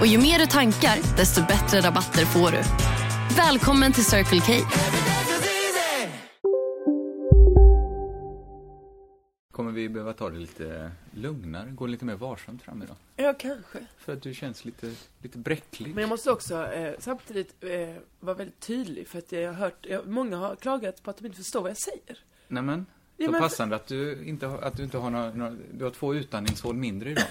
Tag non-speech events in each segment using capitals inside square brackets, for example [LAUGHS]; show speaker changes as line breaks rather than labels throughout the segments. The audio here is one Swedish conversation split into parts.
Och ju mer du tankar, desto bättre rabatter får du. Välkommen till Circle K.
Kommer vi behöva ta det lite lugnare, gå lite mer varsamt fram idag?
Ja, kanske.
För att du känns lite, lite bräcklig.
Men jag måste också eh, samtidigt eh, vara väldigt tydlig för att jag har hört, jag, många har klagat på att de inte förstår vad jag säger.
Nej men, så
Ja, men-
passande att du inte har, att du inte har några, några, du har två utandningshål mindre
[LAUGHS]
idag.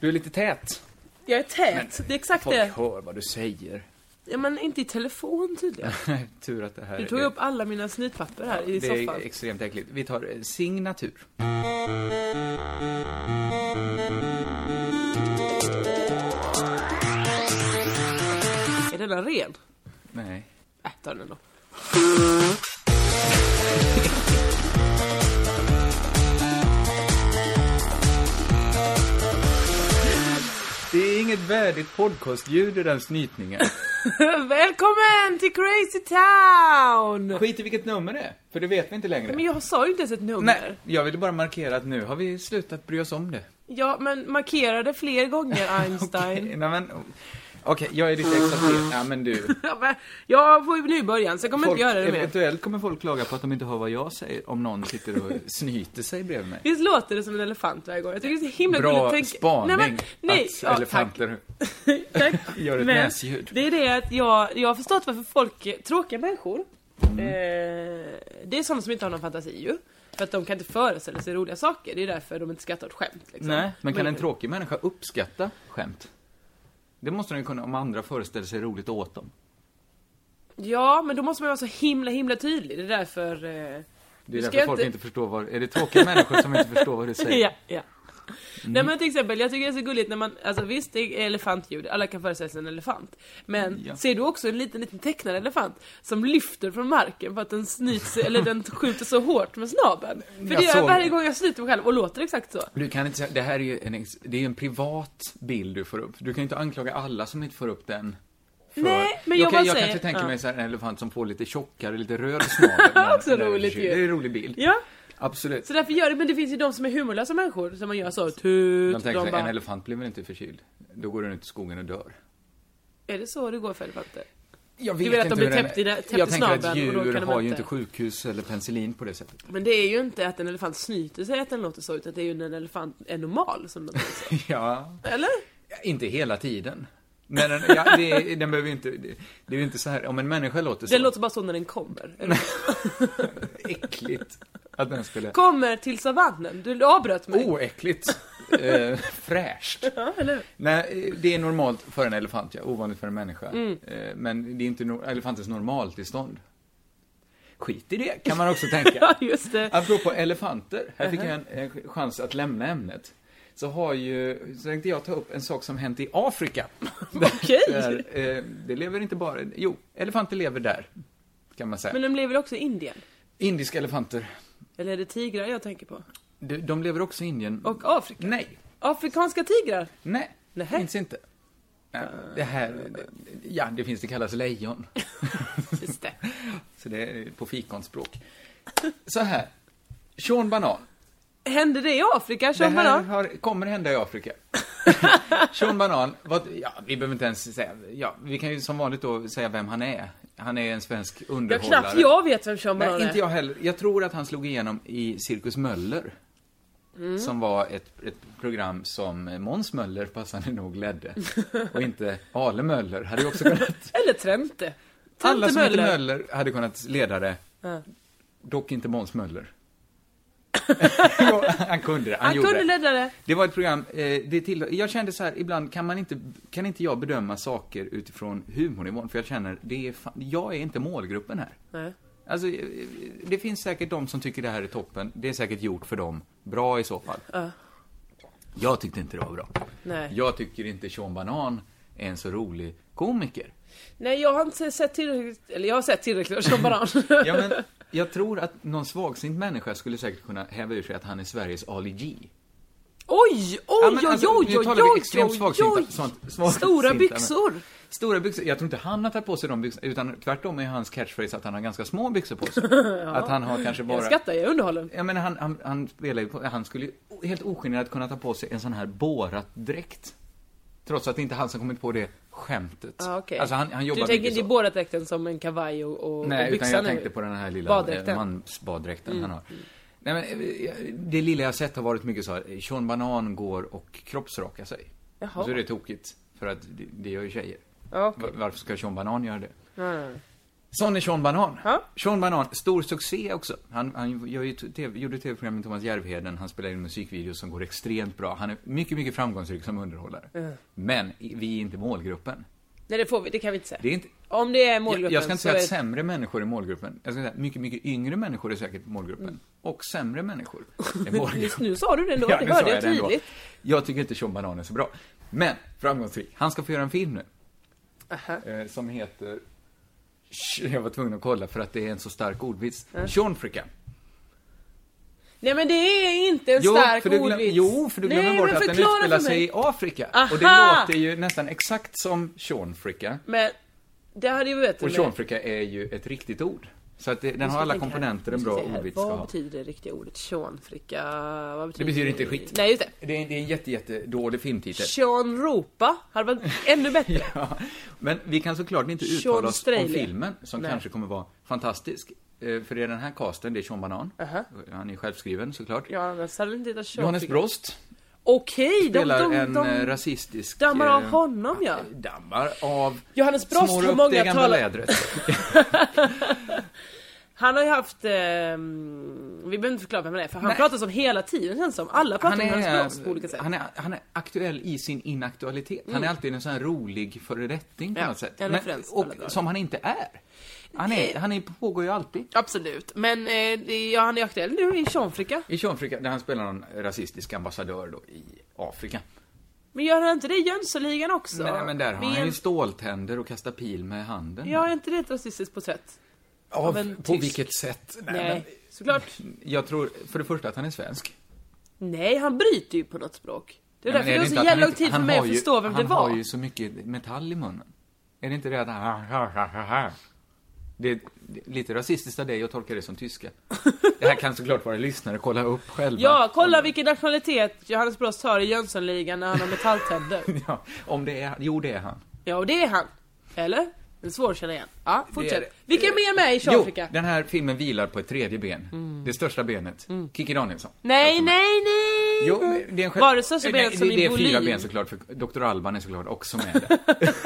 du är lite tät.
Jag är tät, det är exakt
Folk
det.
hör vad du säger. [LAUGHS]
Ja, men inte i telefon tydligen.
Tur att det här
Du tog
är,
upp alla mina snytpapper här i
det är
soffan.
extremt äckligt. Vi tar eh, signatur.
Är denna ren?
Nej.
Äh, ta den då.
Det är inget värdigt podcastljud i den snytningen.
[LAUGHS] Välkommen till Crazy
[LAUGHS]
Town!
Skit i vilket nummer det är, för det vet vi inte längre.
Men jag sa ju inte ens ett nummer.
Nej, jag ville bara markera att nu har vi slutat bry oss om det.
Ja, men markerade
[LAUGHS]
fler gånger Einstein.
Okej, nej men... Okej, jag är lite exalterad. Ja, men
[LAUGHS]
du.
Ja, men jag får ju nu början, så jag kommer
Folk,
inte göra det mer.
eventuellt kommer folk klaga på att de inte hör vad jag säger om någon sitter och snyter sig bredvid mig.
Visst låter det som en elefant varje gång? Jag tycker det är så himla
Bra
gulligt. Tänk-
spaning
Nej, men, nej.
att
Ja, tack.
elefanter
[LAUGHS] tack.
gör ett
Men
näsljud.
Det är det att jag, jag har förstått varför folk, tråkiga människor,
Mm.
eh, det är sådana som inte har någon fantasi ju. För att de kan inte föreställa sig roliga saker, det är därför de inte skrattar åt skämt. Liksom.
Nej, men kan en tråkig människa uppskatta skämt? Det måste de ju kunna om andra föreställer sig roligt åt dem.
Ja, men då måste man ju vara så himla, himla tydlig, det är därför... Eh,
Det är
Nu ska
därför
jag
folk
inte-
inte förstår vad... Är det tråkiga människor som inte förstår vad du säger?
[LAUGHS] Ja, ja. Nej men till exempel, jag tycker det är så gulligt när man, alltså visst det är elefantljud, alla kan föreställa sig en elefant. Men
Ja.
ser du också en liten, liten tecknad elefant som lyfter från marken för att den snyts, eller den skjuter så hårt med snabeln? För
Mm, Jag
det gör jag
såg
varje
det.
gång jag snyter mig själv och låter exakt så.
Du kan inte säga, det här är ju en, ex- det är en privat bild du får upp. Du kan ju inte anklaga alla som inte får upp den. för-
Nej, men jag
kan-
bara
jag
säger-
kanske tänker mig så här en elefant som får lite tjockare, lite röd
Ja, [LAUGHS]
snabel.
också
Eller-
roligt ju.
Det är en rolig bild.
Ja,
Absolut.
så därför gör det, men det finns ju de som är humorlösa människor som man gör så, tut,
De
de,
tänker sig, en
bara,
elefant blir väl inte förkyld? Då går den ut i skogen och dör.
är det så det går för elefanter?
Jag
vet att de
hur
blir
den-
täppt i det- täppt
Jag
i
tänker att
snabeln och då
djur
kan de
har ju
inte-
inte sjukhus eller penicillin på det sättet. [LAUGHS]
Men det är ju inte att en elefant snyter sig att den låter så, utan det är ju när en elefant är normal som den
[LAUGHS]
säger så.
Ja,
Eller?
inte hela tiden. Men den, ja, det, den behöver ju inte, det, det är ju inte så här, om en människa låter så,
Den låter bara så när den kommer. Eller?
äckligt att den skulle...
Kommer till savannen, du avbröt mig.
Oh. Oäckligt. eh, fräscht.
Ja, eller hur?
Nej, eh, det är normalt för en elefant, ja. Ovanligt för en människa.
Mm.
Eh, Men det är inte no- elefantens normaltillstånd. Skit i det, kan man
[LAUGHS]
också tänka.
[LAUGHS] Ja, just det.
Apropå elefanter, här fick jag en, en ch- chans att lämna ämnet. Så har ju, så tänkte jag ta upp en sak som hänt i Afrika.
[LAUGHS] Okej.
[LAUGHS] Där, eh, det lever inte bara, jo, elefanter lever där. Kan man säga.
Men de lever väl också i Indien?
Indiska elefanter,
Eller är det tigrar jag tänker på?
de, de lever också i Indien.
Och Afrika?
Nej,
Afrikanska tigrar?
Nej, det
Nähä.
finns inte. Nej, Det här, ja det finns, det kallas lejon.
Just det.
Så det är på fikonspråk. Så här, Sean Banan.
Hände det i Afrika? Sean
det här
Banan?
har, kommer hända i
[LAUGHS]
Afrika. Sean Banan, vad, ja, vi behöver inte ens säga, ja, vi kan ju som vanligt då säga vem han är. Han är en svensk
Jag
underhållare.
knappt jag vet vem Sean Banan
Nej, inte
är.
jag heller. Jag tror att han slog igenom i Cirkus Möller.
Mm.
Som var ett, ett program som Måns Möller passande nog
[LAUGHS]
ledde. Och inte Ale Möller hade ju också kunnat.
Eller Trente.
Alla
Trente
som hette
Möller.
Möller hade kunnat leda det.
Ja.
Dock inte Måns
[LAUGHS]
Möller. Jo, han kunde det. Han,
Han
gjorde
kunde
det.
leda det.
Det var ett program, eh, det till, jag kände så här, ibland kan man inte, kan inte jag bedöma saker utifrån humornivån, för jag känner, det är fan, jag är inte målgruppen här.
Nej.
Alltså, eh, det finns säkert de som tycker det här är toppen, det är säkert gjort för dem, bra i så fall. Jag tyckte inte det var bra.
Nej.
Jag tycker inte Sean Banan är en så rolig komiker.
Nej jag har inte sett tillräckligt, eller jag har sett tillräckligt av Sean Banan.
[LAUGHS] Ja, men jag tror att någon svagsint människa skulle säkert kunna häva ur sig att han är Sveriges Ali G.
Oj,
Ja,
oj,
men
oj,
alltså,
oj,
nu
oj,
talar vi extremt
oj, oj,
svagsinta-
oj.
sånt- svagsinta,
Stora
men-
byxor.
Stora byxor, jag tror inte han har tagit på sig de byxorna, utan tvärtom är hans catchphrase att han har ganska små byxor på sig.
[LAUGHS]
Att han har kanske bara...
Jag skrattar, jag är underhållen.
Jag menar, han, han, han spelar ju på, han skulle ju helt ogenerat kunna ta på sig en sån här Borat-dräkt. Trots att det inte är han som kommit på det skämtet.
Ah, okej.
Alltså han, han jobbar
du tänker
mycket
inte i
så.
Borat-dräkten som en kavaj och, och, och
Nej,
byxan
utan jag
nu?
tänkte på den här lilla
Baddräkten. Mm,
eh, mansbaddräkten han har. Nej, men, eh, jag- det lilla jag sett har varit mycket så här, eh, Sean Banan går och kroppsrakar sig.
Jaha.
Och så är det tokigt, för att det, det gör ju tjejer.
Ja, okej.
Va- Varför ska Sean Banan göra det?
Mm.
Sån är Sean Banan.
Ja.
Sean Banan, stor succé också. Han, han gör ju t- TV, gjorde tv-program med Thomas Järvheden, han spelar in musikvideos som går extremt bra. Han är mycket, mycket framgångsrik som underhållare. Men i- vi är inte målgruppen.
Nej det får vi, det kan vi inte säga.
Det är inte,
Om det är
jag,
målgruppen
jag ska inte
så
säga att
är-
sämre människor är målgruppen. Jag ska säga att mycket, mycket yngre människor är säkert målgruppen.
Mm.
Och sämre
[LAUGHS]
människor är
Just
målgruppen.
nu sa du det ändå, det
nu
hörde
sa
jag
det ändå.
tydligt.
Jag tycker inte Sean Banan är så bra. Men, framgångsrik. Han ska få göra en film nu.
Aha.
Eh, som heter... Sh, Jag var tvungen att kolla för att det är en så stark ordvits. Seanfrika.
Nej men det är inte en stark
för du glöm-
ordvits.
Jo, för du glömmer
Nej,
bort
men
att den
förklara
utspelar
för mig.
sig i Afrika. Och det
Aha!
låter ju nästan exakt som Seanfrika.
Men det hade ju varit bättre
Och
med-
Seanfrika är ju ett riktigt ord. Så att det, den har alla
Jag tänker här,
komponenter en
jag ska
bra
se här,
ordvits ska
Vad
ha.
betyder det riktiga ordet tjonfricka? Vad
Det
betyder
betyder inte skit.
Nej just det.
Det är, det är en jätte, jätte dålig filmtitel.
Tjonropa hade varit ännu bättre.
[LAUGHS] Ja, men vi kan såklart inte
Sean
uttala oss om
Straley.
filmen, som
Nej.
kanske kommer vara fantastisk. Eh, För det är den här casten, det är Sean Banan.
Aha.
Han är självskriven såklart.
Ja, annars hade det inte hetat
Johannes
tjonfricka.
Brost
Okej, de,
spelar
de, de,
en eh,
de
rasistisk...
dammar av
eh,
honom ja.
Dammar av...
Johannes Brost,
Snår
hur
upp
många
det gamla
talar-
lädret.
Han har ju haft, eh, vi behöver inte förklara vem han är för han
Nej.
pratar som hela tiden känns som. Alla [LAUGHS] pratar
Han
om Johannes
är,
Brost på olika sätt. Mm.
han, är, han är aktuell i sin inaktualitet. Han är alltid en sån här rolig föredetting på
Ja,
något sätt.
en
Men-
referens
och,
alla dagar.
som han inte är. Han, är, han är, pågår ju alltid.
Absolut, men eh, det- ja, han är aktuell nu i Tjonfricka.
I Tjonfrika, där han spelar någon rasistisk ambassadör då i Afrika.
Men gör han inte det i Jönssonligan också?
Men, men där har
Vi är
han ju
en-
ståltänder och kastar pil med handen.
Ja, är inte det ett rasistiskt porträtt?
Av,
av en
på
tysk.
vilket sätt? Nej,
Nej, såklart.
Men, jag tror för det första att han är svensk.
Nej, han bryter ju på något språk. Det är
Nej, men
därför det
är
var
det inte att han
så jävla lång
inte-
tid för
han
mig
har
att
ju-
förstå vem det
Han har
var.
ju så mycket metall i munnen. Är det inte det att han... Det är lite rasistiskt av dig, jag tolkar det som tyska. Det här kan såklart våra lyssnare kolla upp själva.
Ja, kolla vilken nationalitet Johannes Brost har i Jönssonligan när han har metalltänder.
Ja, om [LAUGHS] det är Jo, det är han.
ja, och det är han. Eller? Det är svårt att känna igen. Ja,
Det är det.
fortsätt. Vilka är mer med i Mm.
Jo,
Tjonfricka?
den här filmen vilar på ett tredje ben. Det största benet.
Mm.
Kikki Danielsson.
Nej, nej, nej!
Jo, men det är en själv...
Var det största benet
Nej,
som
det,
i
det är fyra
volym?
ben såklart, för Dr. Alban är såklart också
[LAUGHS]
med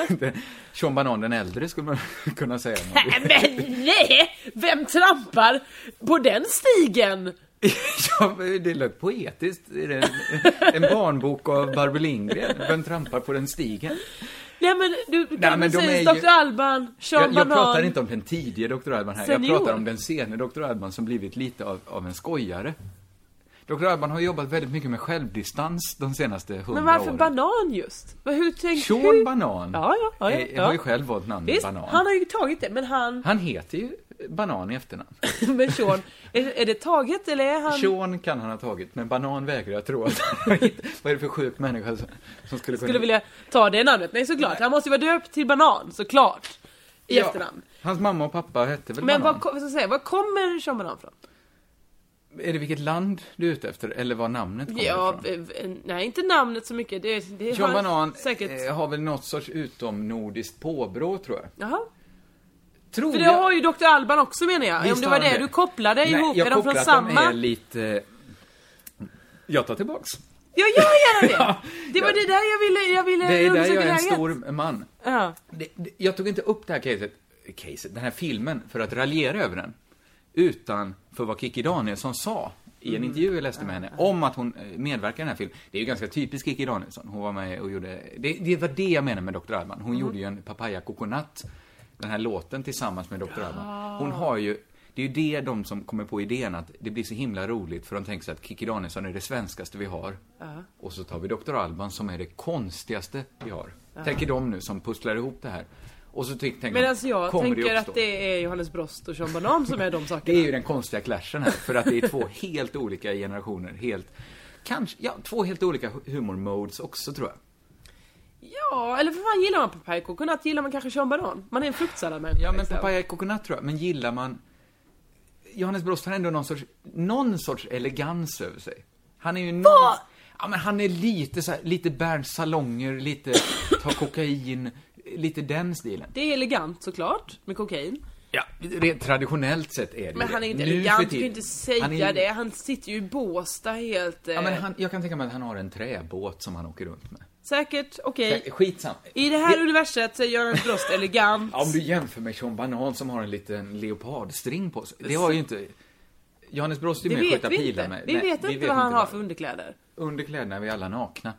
där. Sean Banan den äldre skulle man [LAUGHS] kunna
[LAUGHS]
säga. om man vill.
Nej, men nej! Vem trampar på den stigen?
ja, men det lät poetiskt. Är det En, en barnbok av Barbro Lindgren. Vem trampar på den stigen?
Nej men du, du
Nej,
kan
men
väl
de är
säga
ju-
Dr. Alban, Sean
Jag, jag
Banan.
pratar inte om den tidige Dr. Alban här.
Senior.
Jag pratar om den sene Dr. Alban som blivit lite av, av en skojare. Dr. Alban har jobbat väldigt mycket med självdistans de senaste hundra
Men
åren.
varför banan just? Vad- Hur tänker
Sean
hur-
Banan
Ja, ja, ja, ja,
eh,
ja.
har ju själv valt namnet
Visst,
Banan.
han har ju tagit det, men han... [LAUGHS]
Han heter ju Banan i efternamn.
men Sean, är, är det taget eller är han...
Sean kan han ha tagit, men Banan vägrar jag tro att han har hittat. Vad är det för sjuk människa som, som skulle kunna...
Skulle vilja ta det namnet? Nej såklart, han måste ju vara döpt till Banan, såklart. I
Ja,
efternamn.
Hans mamma och pappa hette väl
Men
Banan?
vad, vad, säga, vad kommer Sean Banan från?
Är det vilket land du är ute efter, eller var namnet kommer
Ja,
ifrån?
v- v- nej inte namnet så mycket, det, det
Sean Banan
säkert...
eh, har väl något sorts utomnordiskt påbrå, tror jag.
Jaha.
Tror
För det
jag.
har ju Dr. Alban också menar jag,
Visst
om det
har
var
han
det du kopplade
Nej,
ihop,
jag
är de
kopplar
från
att
samma?
de är lite... Jag tar tillbaks.
Ja, gör gärna det!
[LAUGHS] Ja,
Det var
ja.
det där jag ville, jag ville
Det är där
undersöka
jag är en
läget.
stor man.
Ja.
Det, det, jag tog inte upp det här caset, caset, den här filmen, för att raljera över den. Utan för vad Kikki Danielsson sa i en intervju jag läste med henne, om att hon eh, medverkar i den här filmen. Det är ju ganska typiskt Kikki Danielsson. Hon var med och gjorde, det, det var det jag menar med Dr. Alban. Hon gjorde ju en Papaya Coconut, den här låten tillsammans med Dr. Alban. Hon har ju, det är ju det de som kommer på idén att det blir så himla roligt för de tänker sig att Kikki Danielsson är det svenskaste vi har. Och så tar vi Dr. Alban som är det konstigaste vi har. Tänker de nu som pusslar ihop det här. Och så ty- tänker
Men
de,
alltså jag
kommer
tänker
det
att
uppstå?
det är Johannes Brost och Sean Banan som är de
Det är
sakerna.
ju den konstiga clashen här, för att det är två helt olika generationer. Helt, kanske, ja, två helt olika hu- humor-modes också, tror jag.
Ja, eller för fan gillar man Papaya Coconut gillar man kanske Sean Banan. Man är en fruktsallad liksom.
Ja, men Papaya Coconut tror jag. Men gillar man... Johannes Brost har ändå någon sorts, någon sorts elegans över sig. Han är ju någon... Ja, men han är lite så här, lite Bernts salonger, lite ta kokain, lite den stilen.
Det är elegant såklart, med kokain.
Ja, rent traditionellt sett är det
Men
det.
han är inte
Nu för
elegant, du kan ju
tiden-
inte säga
han är-
det. Han sitter ju i Båstad helt...
Ja,
eh,
men han, jag kan tänka mig att han har en träbåt som han åker runt med.
Säkert, okej.
Skitsam.
I det här universet så är Göran
[LAUGHS]
Brost elegant.
Ja, om du jämför med Sean Banan som har en liten leopardstring på sig. Det har ju inte... Johannes Brost är
det
med och
vet
skjuta
vi
pilar
inte.
med.
Vi
Nej,
vet inte vad han har
vad-
för underkläder.
Underkläderna är vi alla nakna.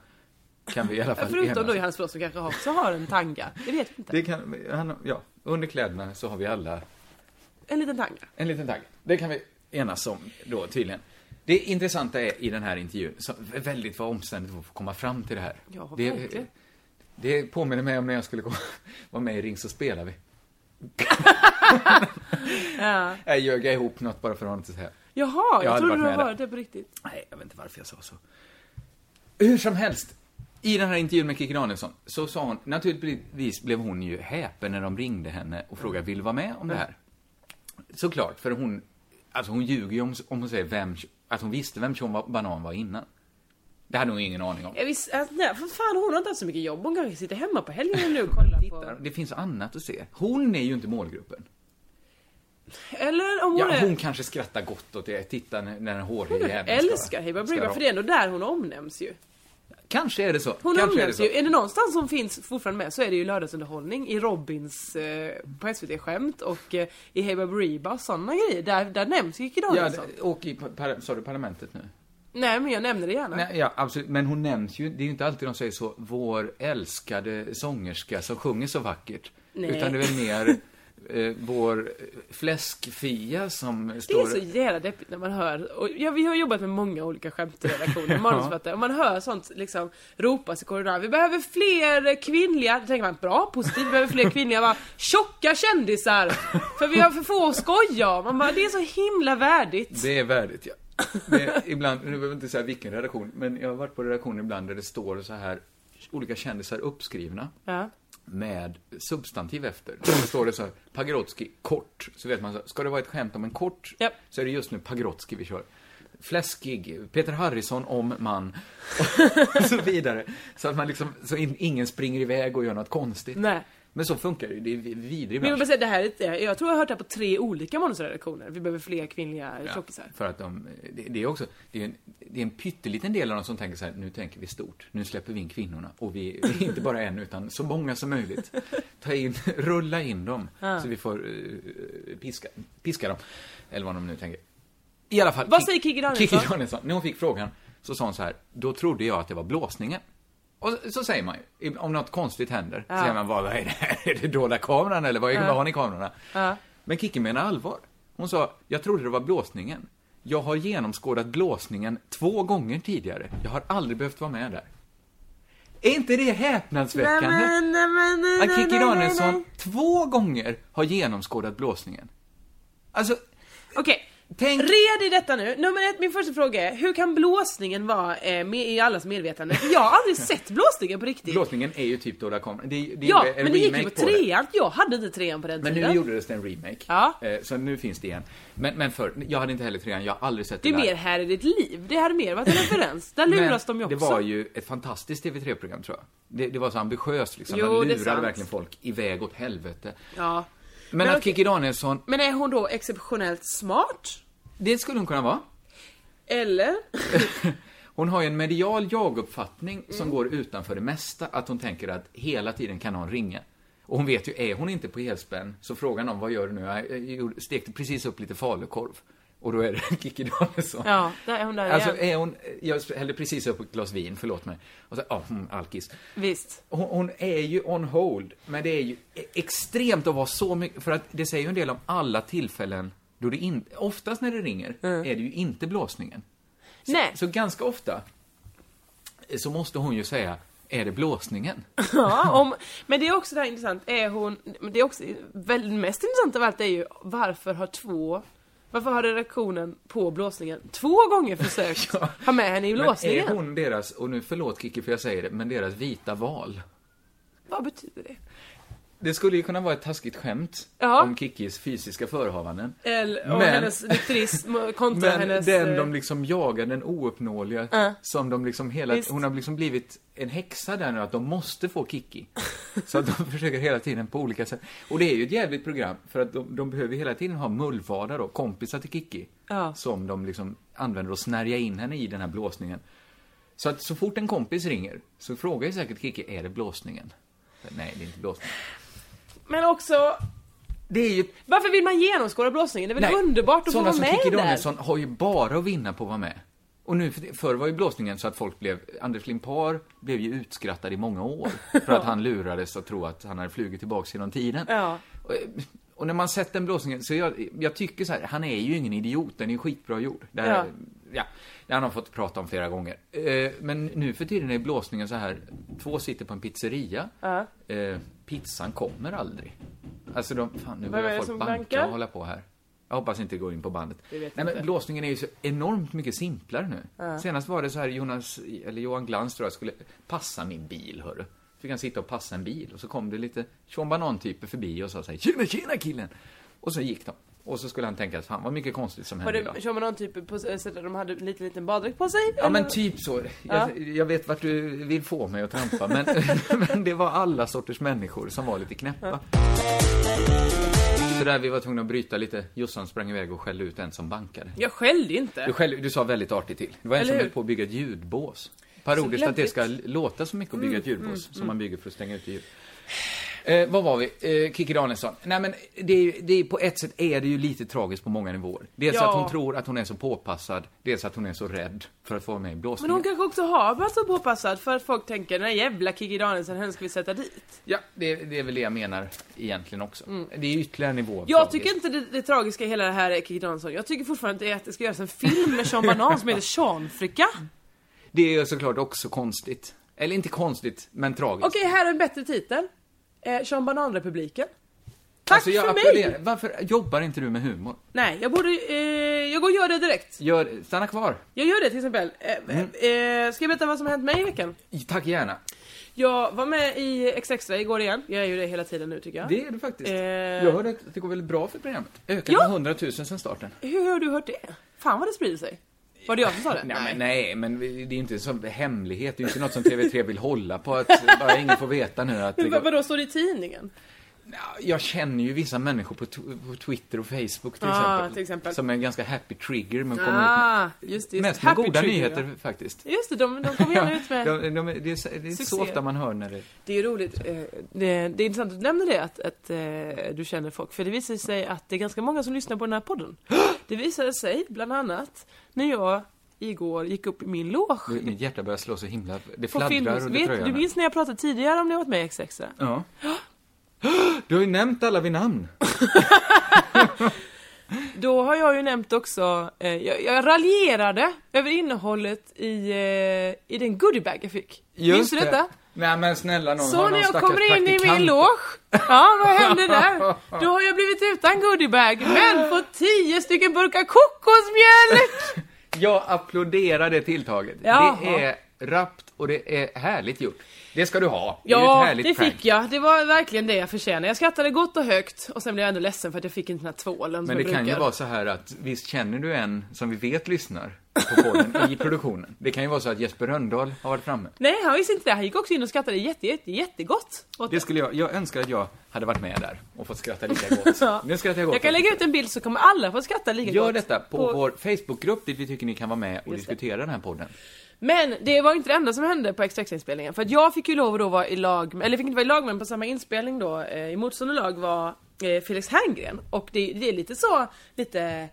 Kan vi i alla fall
[LAUGHS] Förutom då
enas.
Johannes Brost som kanske har, så har en tanga. Det vet vi inte.
det kan, han, ja, under kläderna så har vi alla
En liten tanga.
en liten tagg. Det kan vi enas om då tydligen. Det intressanta är i den här intervjun, som är väldigt vad omständigt att få komma fram till det här.
Ja,
det,
verkligen.
det påminner mig om när jag skulle gå, [LAUGHS] vara med i Ring så spelar vi.
[LAUGHS] Ja.
[LAUGHS] Jag ljög ihop något bara för att ha något att säga.
Jaha, jag,
hade
trodde
varit
du
med
hade
där.
varit det på riktigt.
Nej, jag vet inte varför jag sa så. Hur som helst, i den här intervjun med Kikki Danielsson så sa hon, naturligtvis blev hon ju häpen när de ringde henne och frågade vill du vara med om det här. Såklart, för hon, alltså hon ljuger ju om, om hon säger vem, att hon visste vem Sean Banan var innan. Det hade hon ingen aning om.
Jag visst, alltså, nej, för fan hon har inte haft så mycket jobb. Hon kanske sitter hemma på helgen nu och
[LAUGHS]
kollar
Där,
på...
Det finns annat att se. Hon är ju inte målgruppen.
Eller om hon
Ja,
är...
hon kanske skrattar gott åt det. Titta när när den håriga
Jag
jäveln ska-
älskar Hey
ska
Baberiba
ra-
för det är ändå där hon omnämns ju.
Kanske är det så.
Hon
kanske
omnämns
är det
ju.
så.
Är det någonstans som finns fortfarande med så är det ju lördagsunderhållning i Robins eh, på SVT Skämt och eh, i Hey Baberiba och sådana grejer. Där, där nämns ju Kikki
Ja,
Danielsson.
och i, par, sa du parlamentet nu?
Nej men jag nämner det gärna.
Nej, ja, absolut. Men hon nämns ju, det är ju inte alltid de säger så, vår älskade sångerska som sjunger så vackert.
Nej.
Utan det är väl
[LAUGHS]
mer eh, vår fläskfia som
Det är
står...
så jävla deppigt när man hör, och ja, vi har jobbat med många
[LAUGHS]
olika skämtredaktioner, manusförfattare, och man hör sånt liksom ropas i korridoren. Vi behöver fler kvinnliga, då tänker man bra, positivt, vi behöver fler kvinnliga, bara, tjocka kändisar! För vi har för få att skoja om. Man bara, det är så himla värdigt.
Det är värdigt, ja. Det är, ibland, nu behöver jag inte säga vilken redaktion, men jag har varit på redaktion ibland där det står så här, olika kändisar uppskrivna.
Ja.
med substantiv efter. Så står det så här, Pagrotsky, kort. Så vet man, så här, ska det vara ett skämt om en kort,
Japp.
så är det just nu Pagrotsky vi kör. Fläskig, Peter Harrison om man, och [LAUGHS] så vidare. Så att man liksom, så in, ingen springer iväg och gör något konstigt.
Nej.
Men så funkar det ju, det är vi- vidrig
Men jag, vill bara
bransch.
säga, det här, är ett- eh, jag tror jag har hört det här på tre olika manusredaktioner. Vi behöver fler kvinnliga tjockisar.
För att de, det, det är också, det är, en, det är en pytteliten del av dem som tänker så här, nu tänker vi stort, nu släpper vi in kvinnorna. Och vi, vi är inte bara en, utan så många som möjligt. Ta in, rulla in dem, så vi får eh, piska, piska dem. Eller vad de nu tänker. I alla fall.
Vad
Kik-
säger Kikki Danielsson?
Kikki Danielsson, när hon fick frågan, så sa hon så här, då trodde jag att det var blåsningen. Och så, så säger man ju, om något konstigt händer, så säger man, vad vad är det här? Är det [LAUGHS] dolda kameran eller vad, är, vad har ni kamerorna? Men Kikki menar allvar. Hon sa, jag trodde det var blåsningen. Jag har genomskådat blåsningen två gånger tidigare. Jag har aldrig behövt vara med där. Är inte det häpnadsväckande?
nej, men, nej,
Att Kikki Danielsson två gånger har genomskådat blåsningen. Alltså,
Okej.
Tänk-
Red i detta nu. Nummer ett, min första fråga är, hur kan blåsningen vara eh, med i allas medvetande? Jag har aldrig sett blåsningen på riktigt.
blåsningen är ju typ dolda kameran. Det, är- det är
ja,
ju en
men det gick ju
remake
på
det.
trean. Jag hade inte trean på den
Men
tiden.
nu gjordes det en remake.
Ja.
Eh, Så nu finns det igen. Men, men förr, jag hade inte heller trean, jag har aldrig sett
Det
det
är mer
live.
här i ditt liv. Det hade mer varit en referens. Där
Men
luras de ju också.
Det var ju ett fantastiskt TV3-program tror jag. Det, det var så ambitiöst liksom.
Jo,
Man
det är
lurade
sant.
verkligen folk iväg åt helvete.
Ja.
Men,
Men
att
okej.
Kikki Danielsson,
Men är hon då exceptionellt smart?
det skulle hon kunna vara. [LAUGHS]
Eller?
Hon har ju en medial jag-uppfattning
Mm.
som går utanför det mesta. Att hon tänker att hela tiden kan någon ringa. Och hon vet ju, är hon inte på helspänn, så frågar någon vad gör du nu? Jag, jag gjorde- stekte precis upp lite falukorv. Och då är det [LAUGHS] Kikki Danielsson.
Ja, där är hon där
Alltså,
igen.
är hon, jag hällde precis upp ett glas vin, förlåt mig. Och så, ja, mm, alkis.
Visst.
Hon, hon är ju on hold, men det är ju e- extremt att vara så mycket, för att det säger ju en del om alla tillfällen då det inte, oftast när det ringer,
Mm.
är det ju inte blåsningen.
Nej.
Så ganska ofta eh, så måste hon ju säga, är det
[LAUGHS]
blåsningen?
Ja, om, men det är också det här intressant, är hon, men det är också, väl, mest intressant av allt är ju varför har två varför har redaktionen på blåsningen två
[LAUGHS]
gånger försökt ha med henne i
Men
blåsningen?
är hon deras, och nu förlåt Kiki för jag säger det, men deras vita val?
Vad betyder det?
Det skulle ju kunna vara ett taskigt skämt
Ja.
om Kikis fysiska förehavanden.
Eller, och
Men-
hennes nykterism kontra
Men
hennes...
den
eh,
de liksom jagar, den ouppnåeliga,
Ja.
som de liksom hela
Visst.
Hon har liksom blivit en häxa där nu, att de måste få
[LAUGHS]
Kiki. Så att de försöker hela tiden på olika sätt. Och det är ju ett jävligt program, för att de, de behöver hela tiden ha mullvadar då, kompisar till Kiki.
Ja.
Som de liksom använder och snärja in henne i den här blåsningen. Så att så fort en kompis ringer, så frågar ju säkert Kiki, är det blåsningen? Nej, det är inte blåsningen.
Men också,
Det är ju
varför vill man genomskåda blåsningen? Det är väl underbart att få
sådana
vara
som
med
Kikki
där?
Danielsson har ju bara att vinna på att vara med. Och nu, för- förr var ju blåsningen så att folk blev, Anders Limpar blev ju utskrattad i många år.
[LAUGHS]
För att han lurades att tro att han hade flugit tillbaks genom tiden.
Ja.
Och, och när man sett den blåsningen, så jag, jag tycker så här, han är ju ingen idiot, den är ju skitbra gjord. Det här,
Ja.
ja. det han har fått prata om flera gånger. Eh, men nu för tiden är blåsningen så här, två sitter på en pizzeria.
Ja.
Eh, pizzan kommer aldrig. Alltså de, fan nu
Vem är
börjar
det
folk
som
banka
bankar?
och hålla på här. Jag hoppas inte det går in på bandet.
Vi vet
Nej, men
inte.
blåsningen är ju så enormt mycket simplare nu. Senast var det så här Jonas, eller Johan Glans tror jag, skulle passa min bil, hörru. Fick han sitta och passa en bil och så kom det lite Tjombanan-typer förbi och sa så här, tjena, tjena killen! Och så gick de. Och så skulle han tänka, fan vad mycket konstigt som
Var
hände idag.
det, kör man någon typ på sätt att de hade en liten, liten baddräkt på sig?
Ja men
Eller-
typ så.
Ja.
Jag, jag vet vart du vill få mig att trampa men, [LAUGHS] men det var alla sorters människor som var lite knäppa. Så där vi var tvungna att bryta lite. Jossan sprang iväg och skällde ut en som bankade.
Jag skällde ju inte.
Du, skällde, du sa väldigt artigt till. Det var en
Eller
som
hur?
höll på att bygga ett ljudbås. Parodiskt att det
lämpligt.
ska låta så mycket att bygga ett
Mm,
ljudbås som man bygger för att stänga ut ljud. Eh, vad var vi? Eh, Kikki Danielsson. Nej men det är, ju- det är, på ett sätt är det ju lite tragiskt på många nivåer. Dels
Ja.
att hon tror att hon är så påpassad, dels att hon är så rädd för att få vara med i
Men
blåsningen.
hon kanske också har varit så påpassad för att folk tänker den här jävla Kikki Danielsson, henne ska vi sätta dit.
Ja, det, det är väl det jag menar egentligen också. Det är ytterligare en nivå av
Mm. Jag
tragiskt.
tycker inte det, det tragiska i hela det här är Kikki Danielsson. Jag tycker fortfarande att det är att det ska göras en film med Sean Banan som
[LAUGHS]
heter Seanfrika.
Det är ju såklart också konstigt. Eller inte konstigt, men tragiskt.
Okej, här är en bättre titel. Eh, Sean Banan-republiken. Tack
Alltså, jag
för
applåderar.
mig!
Varför jobbar inte du med humor?
Nej, jag borde... Eh, jag går och gör det direkt.
Gör, stanna kvar.
Jag gör det till exempel. Eh,
Mm.
eh, ska jag berätta vad som har hänt mig i veckan?
Tack gärna.
Jag var med i Extra igår igen. Jag är ju det hela tiden nu tycker jag.
Det är du faktiskt.
Eh.
Jag hörde att det går väldigt bra för programmet. Ökat
Ja.
med 100 000 sen starten.
Hur har du hört det? Fan vad det sprider sig. Var det jag som sa det?
Nej, men, nej, men det är inte en sån hemlighet. Det är inte något som TV3 vill hålla på att bara ingen får veta nu
[LAUGHS]
att det
Men vad-
går...
vadå, står det i tidningen?
Ja, Jag känner ju vissa människor på, tw- på Twitter och Facebook till,
Ah,
exempel,
till exempel.
Som är en ganska happy trigger men kommer ut med
Ah, just det. Just
Mest
det.
med
Happy
goda
Trigger,
nyheter faktiskt.
ja. Just det, de, de kommer gärna
[LAUGHS]
ut med...
De, de, de, det är, det är
Succé.
så ofta man hör när det...
Det är ju roligt. eh, Det, det är intressant att du nämner det, att, att eh, du känner folk. För det visar sig att det är ganska många som lyssnar på den
[GASPS]
här podden. Det visade sig, bland annat, när jag igår gick upp i min loge.
Mitt hjärta börjar slå så himla... Det
På film.
fladdrar under
Vet,
tröjan.
du minns när jag pratade tidigare om när jag varit med i Extra?
Ja. [GASPS] Du har ju nämnt alla vid namn.
Då har jag ju nämnt också, eh, jag, jag raljerade över innehållet i, eh, i den goodiebag jag fick. Minns du
det.
detta?
Nej men snälla någon,
Så
har
när
någon
jag
stackars
kommer in i
praktikant-
min loge, ja vad
[LAUGHS]
hände där? Då har jag blivit utan goodiebag, men fått tio stycken burkar kokosmjölk!
Jag applåderar det tilltaget.
Jaha.
Det är rappt och det är härligt gjort. Det ska du ha. Det är ju ett
Ja,
härligt
det
prank.
fick jag. Det var verkligen det jag förtjänade. Jag skrattade gott och högt och sen blev jag ändå ledsen för att jag fick inte den här tvålen som
Men det
jag
kan ju
brukar.
vara så här att visst känner du en som vi vet lyssnar på
[LAUGHS]
podden i produktionen. Det kan ju vara så att Jesper Rönndahl har varit framme.
Nej, han visste inte det. Han gick också in och skrattade jätte, jätte, jättegott. åt
Det skulle jag, jag önskar att jag hade varit med där och fått skratta lika
[LAUGHS]
gott. Nu skrattar jag gott.
Jag kan lägga ut en bild så kommer alla få skratta lika
Gör
gott.
detta på, vår Facebookgrupp dit vi tycker ni kan vara med och
Just det.
diskutera den här podden.
Men det var inte det enda som hände på extra inspelningen För att jag fick ju lov att då vara i lag, eller fick inte vara i lag men på samma inspelning då, eh, i motstående lag var eh, Felix Herngren. Och det, det är lite så, lite...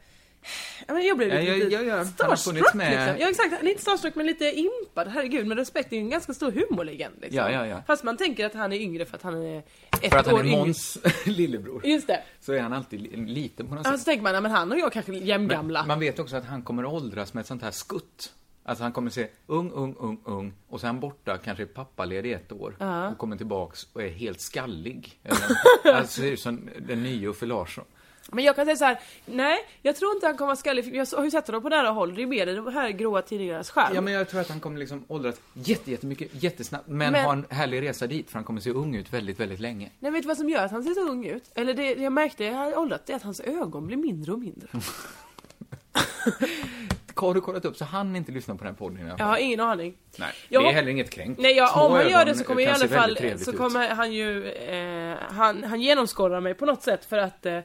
Ja, men jag blev lite,
Ja, ja,
lite
ja, ja. Han har
starstruck
funnits med.
liksom. Ja exakt, han är inte starstruck men lite impad, herregud. Men Respekt är ju en ganska stor humorlegend. Liksom.
Ja, ja, ja.
Fast man tänker att han är yngre för att han är ett
För att han
år
är
yngre.
Måns [LAUGHS] lillebror
Just det.
så är han alltid li- liten på något
Ja,
sätt.
så tänker man, ja, men han och jag kanske är jämngamla.
Man vet också att han kommer åldras med ett sånt här skutt. Alltså han kommer se ung, ung, ung, ung och sen borta, kanske är pappaledig i ett år och kommer tillbaks och är helt
[LAUGHS]
skallig. Eller- alltså ser ut som den nya Uffe Larsson.
Men jag kan säga så här: nej jag tror inte han kommer vara skallig, för jag har ju sett honom på nära håll, det är mer i de här gråa tidningarnas skärm.
Ja, men jag tror att han kommer liksom åldras jätte, jättemycket, jättesnabbt, men,
Men-
ha en härlig resa dit för han kommer se ung ut väldigt, väldigt länge.
Nej vet du vad som gör att han ser så ung ut? Eller det det jag märkte, jag har åldrat, det är att hans ögon blir mindre och mindre.
Mm. Har du kollat upp så han inte lyssnar på den här podden i alla
Jag
fall?
har ingen aning.
Nej,
Jag
det är
hop-
heller inget kränkt.
Nej ja,
Små
om han gör
ögon
det så kommer i
kan se
alla
väldigt
fall, eh,
trevligt
så
ut.
kommer han ju, eh, han, han genomskådar mig på något sätt för att eh,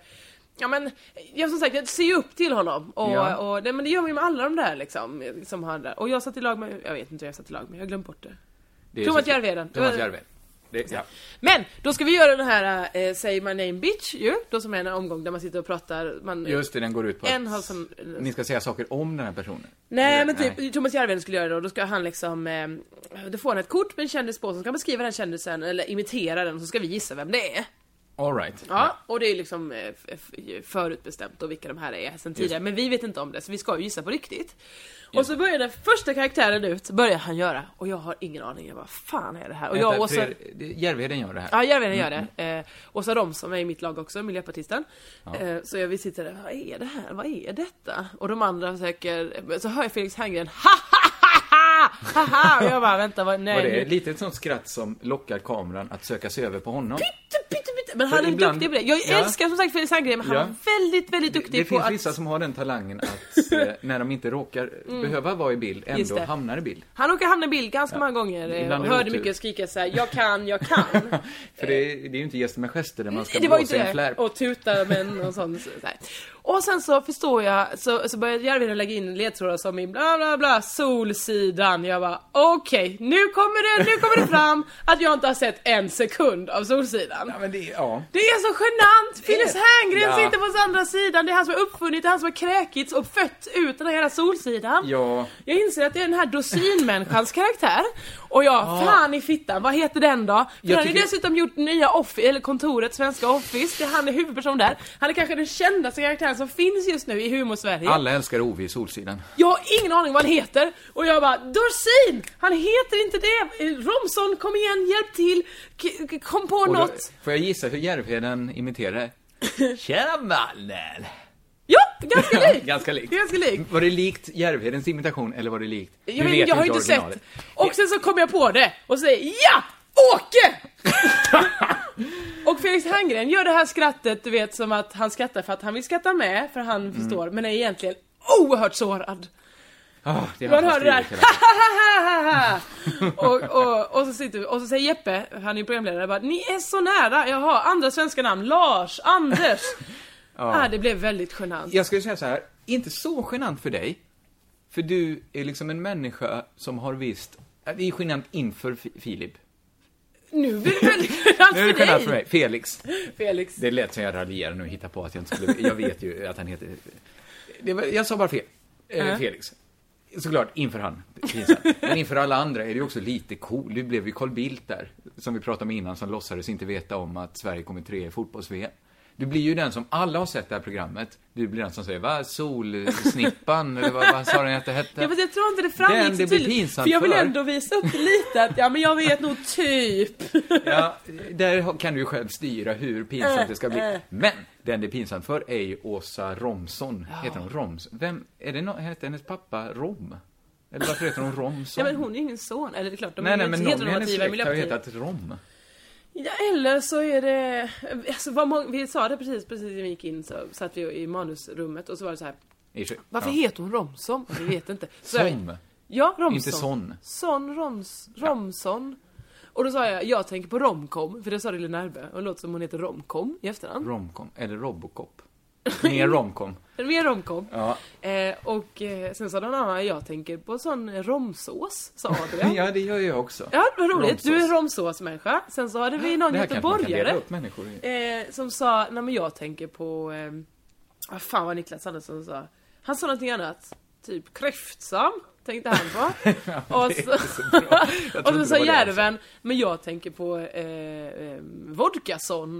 Ja men, jag som sagt jag ser ju upp till honom och,
Ja.
och det, men det gör man ju med alla de där liksom, som han där. Och jag satt i lag med, jag vet inte hur jag satt i lag med, jag har glömt bort det.
Det är
Thomas
så kul.
Järvheden.
Thomas Järvheden. Det, ja.
Men! Då ska vi göra den här eh, Say My Name Bitch ju, då som är en omgång där man sitter och pratar, man,
Just det, den går ut på
en
att
har som...
ni ska säga saker om den här personen.
Nej men typ, Thomas Järvheden skulle göra det och då ska han liksom, eh, då får han ett kort med en kändis på, som ska han beskriva den kändisen, eller imitera den, så ska vi gissa vem det är.
All right.
Ja, och det är liksom eh, f- f- förutbestämt och vilka de här är sen tidigare, men vi vet inte om det så vi ska ju gissa på riktigt. Och så börjar den första karaktären ut, börjar han göra, och jag har ingen aning, jag bara fan är det här? Och jag och
Vänta,
Åsa...
Fred- det- Järvheden gör det här.
Ja, Järvheden gör
Mm.
det. Eh, Åsa Romson är i mitt lag också, miljöpartisten. Eh, så jag, vi sitter där, vad är det här? Vad är detta? Och de andra försöker, så hör jag Felix Herngren, ha ha ha ha! ha ha! Och jag bara, vänta, vad, nej.
Och det är
nu-
lite ett sånt skratt som lockar kameran att söka sig över på honom.
Pytte, pytte, pytte. typ, Men han är
ibland-
duktig på det. Jag
Ja.
älskar som sagt Felix Herngren, men han
Ja.
var väldigt, väldigt duktig
det
på
finns
att...
vissa som har den talangen
[LAUGHS]
att eh, när de inte råkar behöva vara i bild,
Mm. Just
ändå
det.
hamnar i bild.
Han råkar hamna i bild ganska många gånger eh,
Ibland är
och
det
hörde
otur.
mycket skrika så här: jag kan, jag kan.
[LAUGHS] För det är, det är ju inte gäster med gester där man ska
det var ju
blåsa i
inte
en
det.
flärp.
Och tuta men och sånt. Så här. Och sen så förstår jag, så, så började Järvheden lägga in ledtrådar som i bla bla bla, Solsidan. Jag bara okej, nu kommer det, nu kommer det fram att jag inte har sett en sekund av Solsidan.
Ja, men det, ja.
Det är så genant! Phyllis Herngren
Ja.
sitter på andra sidan, det är han som har uppfunnit, det är han som har kräkits och fött ut den här jävla Solsidan.
Ja.
Jag inser att det är den här dossinmänniskans karaktär. Och jag, fan i fittan, vad heter den då? För
Jag
han har ju
tycker-
dessutom gjort nya office, eller kontoret, svenska office, det är han är huvudperson där. Han är kanske den kändaste karaktären som finns just nu i humorsverige.
Alla älskar Ove i Solsidan.
Jag har ingen aning vad han heter. Och jag bara, Dorsin! Han heter inte det! Eh, Romson, kom igen, hjälp till! K- k- kom på
Och då,
något!
får jag gissa hur Järvheden imiterar
[LAUGHS]
det? Tjena mannen!
Ja, ganska
[LAUGHS]
likt!
Ganska likt.
Ganska likt.
Var det likt Järvhedens imitation eller var det likt?
Jag,
Du
vet, jag har ju inte sett. Och sen så kom jag på det och säger JA! Åke! [LAUGHS] och Felix Herngren gör det här skrattet, du vet som att han skrattar för att han vill skratta med, för han förstår, men är egentligen oerhört sårad.
Ah, det är han
Man hör
som
det där
skriver hela-
[LAUGHS] och, och, och, så sitter vi, och så säger Jeppe, han är programledare, bara, ni är så nära, jaha, andra svenska namn, Lars, [LAUGHS] Anders. ah, det blev väldigt genant.
Jag skulle säga så här, inte så genant för dig. För du är liksom en människa som har visst... äh, Det är genant inför Fi- Filip.
[LAUGHS] Nu blir det väldigt genant
Nu är det
för
genant
dig,
för mig. Felix.
Felix.
Det lät som jag raljerade nu och hittade på att jag inte skulle... Jag vet ju att han heter... Det var, jag sa bara fel. Eh, Felix. Såklart, inför han. Pinsamt. Men inför alla andra är det ju också lite cool. Du blev ju Carl Bildt där, som vi pratade med innan, som låtsades inte veta om att Sverige kommer tre i fotbolls-VM. Du blir ju den som alla har sett det här programmet. Du blir den som säger, va, solsnippan, eller vad, vad sa den att det hette?
Ja, fast jag tror inte det
Den
framgick
det
så
blir
tydligt.
pinsamt
För jag vill
för.
ändå visa upp lite att, ja men jag vet nog typ.
Ja, där har- kan du ju själv styra hur
Äh,
pinsamt det ska bli. Men den det är pinsamt för är ju Åsa Romson. Heter hon Roms? Vem, är det no, hette hennes pappa Rom? Eller varför heter hon Romson?
Ja men hon är ju ingen son, eller det är klart, de
nej,
är
nej,
nej,
men
inte
någon i hennes
heteronormativa i
släkt har ju
Miljöpartiet.
hetat Rom.
Ja, eller så är det, alltså vad många, vi sa det precis, precis när vi gick in så satt vi i manusrummet och så var det så här.
I och för sig.
Varför
Ja.
heter hon Romson? Vi vet inte. Så jag-
Som?
Ja, Romson.
Inte son.
Son Roms, Romson. Och då sa jag, jag tänker på romcom, för det sa det Lina Erbe, och det låter som hon heter romcom i efterhand.
Romcom. Eller
[LAUGHS]
Robocop. Mer Romcom.
Mer romcom.
Ja.
Eh, och eh, sen sa någon annan, jag tänker på sån romsås,
[LAUGHS]
sa Adrian. ja.
ja, det gör jag också.
vad roligt. Du är
Romsås.
romsåsmänniska. Sen så hade vi någon
Det här kanske man kan dela
göteborgare
upp människor i.
eh, som sa, nej men jag tänker på, eh, vad fan var Niklas Andersson sa? Han sa någonting annat, typ kräftsam. Tänkte han
[LAUGHS]
på. och så,
Jag
[LAUGHS] och
trodde
så
det
sa
var det han sa.
Järven, men jag tänker på eh, ehm, eh, Vodkason.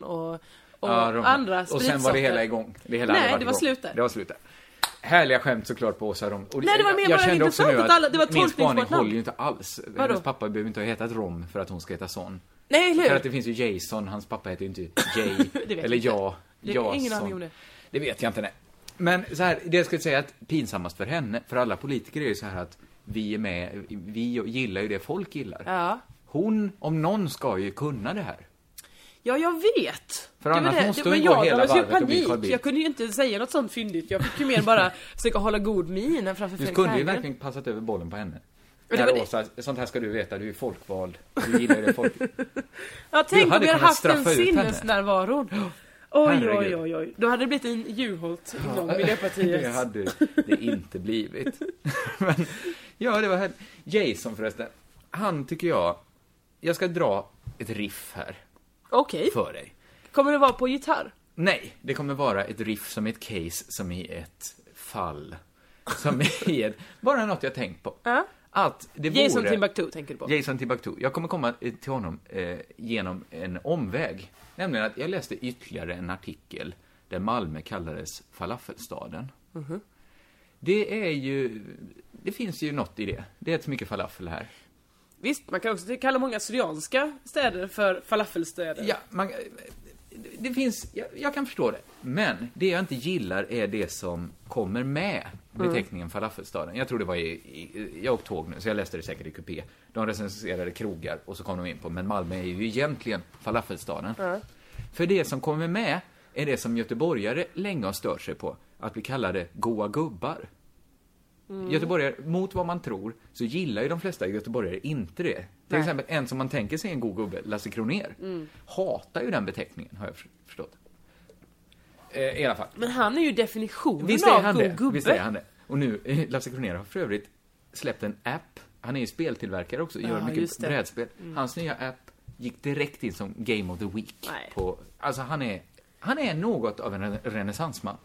Och, och
Ja, de-
andra
Och sen var det
spritsorter.
hela igång. Det hela
Nej,
hade varit
det var
igång.
slut där.
Det var slut där. Härliga skämt såklart på Åsa Rom. Och
Nej, det var mer
jag
bara
kände också
intressant
nu
att alla- det var
min spaning
tolkningsbart namn.
håller ju inte alls. Hennes pappa behöver inte ha hetat Rom för att hon ska heta son.
Nej, eller
För
hur?
att det finns ju Jason, hans pappa heter ju
[LAUGHS]
inte
Det
Jay.
vet
eller
jag
ja.
Det-
Jason.
ingen aning om det.
Det vet jag inte, nej. Men så här, det jag skulle säga att pinsammast för henne, för alla politiker är ju så här att vi är med, vi gillar ju det folk gillar.
Ja.
Hon, om någon, ska ju kunna det här.
Ja, jag vet.
För
Det var
annars
det-
måste
det-
hon
men
gå
jag,
hela
jag var så i
varvet och bli Carl
panik.
Bildt.
Jag kunde ju inte säga något sånt fyndigt. Jag fick ju
[LAUGHS]
mer bara försöka hålla god min än
Du
framför Fredrik
kunde ju
Reinfeldt.
verkligen passat över bollen på henne.
det
När
var det-
Åsa, sånt här ska du veta, du är folkvald. Du gillar ju det
[LAUGHS]
folk...
Ja, tänk om
hade
vi hade
kunnat
haft den
straffa ut henne. [GASPS]
sinnesnärvaron. Oj, oj,
Herregud.
oj, oj. Då hade det blivit en Juholt
[LAUGHS]
igång,
Det
Miljöpartiet.
hade det inte blivit. [LAUGHS] Men, ja, det var här. Jason förresten. Han tycker jag... Jag ska dra ett riff här
Okej.
för dig.
Kommer det vara på gitarr?
Nej, det kommer vara ett riff som i ett case, som i ett fall. Som i ett... Bara något jag tänkt på.
Ja.
Att det
Jason
vore...
Timbuktu tänker du på?
Jason Timbuktu. Jag kommer komma eh, till honom eh, genom en omväg. Nämligen att jag läste ytterligare en artikel där Malmö kallades falafelstaden.
Mhm.
Det är ju... Det finns ju något i det. Det är så mycket falafel här.
Visst, man kan också kalla många syrianska städer för falafelstäder.
Ja, man, det finns, jag, jag kan förstå det. Men det jag inte gillar är det som kommer med beteckningen falafelstaden. Jag tror det var i, i, jag åkte tåg nu, så jag läste det säkert i kupé. De recenserade krogar och så kom de in på, men Malmö är ju egentligen falafelstaden. För det som kommer med är det som göteborgare länge har stört sig på, att bli kallade goa gubbar.
Mm.
Göteborgare, mot vad man tror, så gillar ju de flesta göteborgare inte det. Till exempel en som man tänker sig är en god gubbe, Lasse Kroner
Mm.
hatar ju den beteckningen, har jag för- förstått. Eh, I alla fall.
Men han är ju definitionen
Visst är
av
han
god
det?
gubbe.
Visst är han det? Och nu, eh, Lasse Kronér har för övrigt släppt en app. Han är ju speltillverkare också, gör
Ja,
mycket
just det. Mm.
brädspel. Hans nya app gick direkt in som Game of the Week.
Nej.
På, alltså han är, han är något av en re- renässansman.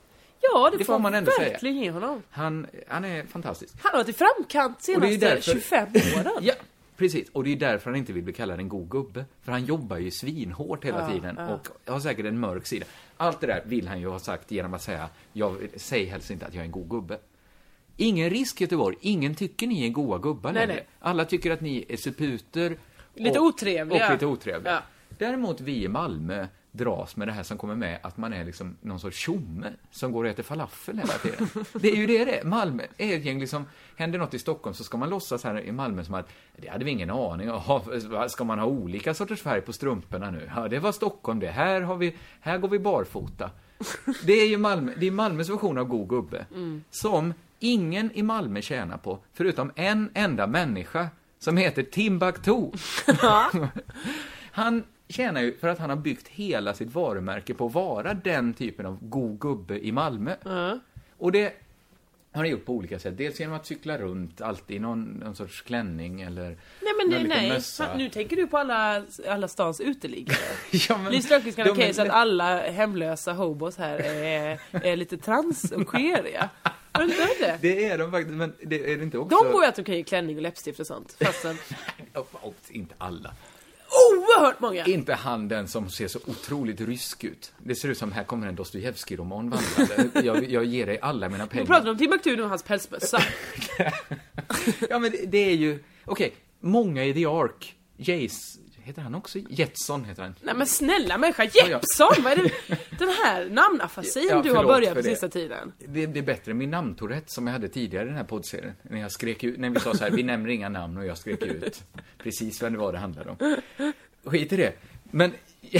Ja, det,
Det får
får
man ändå säga.
verkligen ge honom.
Han, han är fantastisk.
Han har varit i framkant
Och det är
senaste
ju därför-
25 åren.
Ja, precis. Och det är därför han inte vill bli kallad en god gubbe. För han jobbar ju svinhårt hela tiden och har säkert en mörk sida. Allt det där vill han ju ha sagt genom att säga, jag säg helst inte att jag är en god gubbe. Ingen risk Göteborg, ingen tycker ni är goa gubbar
Nej,
längre.
nej.
Alla tycker att ni är suputer.
Lite
och,
otrevliga.
Och lite otrevliga.
Ja.
Däremot vi i Malmö dras med det här som kommer med att man är liksom någon sorts tjomme som går och äter falafel hela
[LAUGHS]
tiden. Det är ju det det är. Malmö är ett gäng liksom, händer något i Stockholm så ska man låtsas här i Malmö som att det hade vi ingen aning om. Jaha, [LAUGHS] Ska man ha olika sorters färg på strumporna nu? Ja, det var Stockholm det. Här har vi, här går vi
[LAUGHS]
barfota. Det är ju Malmö, det är Malmös version av god gubbe.
Mm.
Som ingen i Malmö tjänar på, förutom en enda människa som heter Timbuktu. [LAUGHS] Han tjänar ju för att han har byggt hela sitt varumärke på att vara den typen av god gubbe i Malmö. Och det har han gjort på olika sätt. Dels genom att cykla runt alltid i någon, någon sorts klänning eller
Nej
någon
men nej,
liten
nej.
mössa.
Fan, nu tänker du på alla, alla stans uteliggare.
[LAUGHS] ja, men,
Lise Löfqvist kan ha
de är
okej så att
lätt-
alla hemlösa hobos här är, är lite trans och queeriga. Har du inte hört det?
Det är de faktiskt, men det är det inte också...
De går ju att okej i klänning och läppstift och sånt. Fastän
Oh, oh, inte alla.
oerhört många!
Inte han den som ser så otroligt rysk ut. Det ser ut som här kommer en Dostojevskij-roman
[LAUGHS]
vandrande. jag, jag ger dig alla mina
Vi
pengar.
pratar om Timbuktu nu och hans pälsbössa.
[LAUGHS] ja, men det, det är ju... Okej, många i The Ark, Jace, Heter han också Jetson? Heter han.
Nej men snälla människa,
ja.
Jeppsson! Vad är det? Den här namnafasin
Ja,
du har
förlåt
börjat
för
på
det.
sista tiden.
Det, det är bättre än min namntourette som jag hade tidigare i den här poddserien. När jag skrek ut, när vi sa så här, vi nämner inga namn och jag skrek ut [LAUGHS] precis vem det var det handlade om. Skit i det. Men [LAUGHS]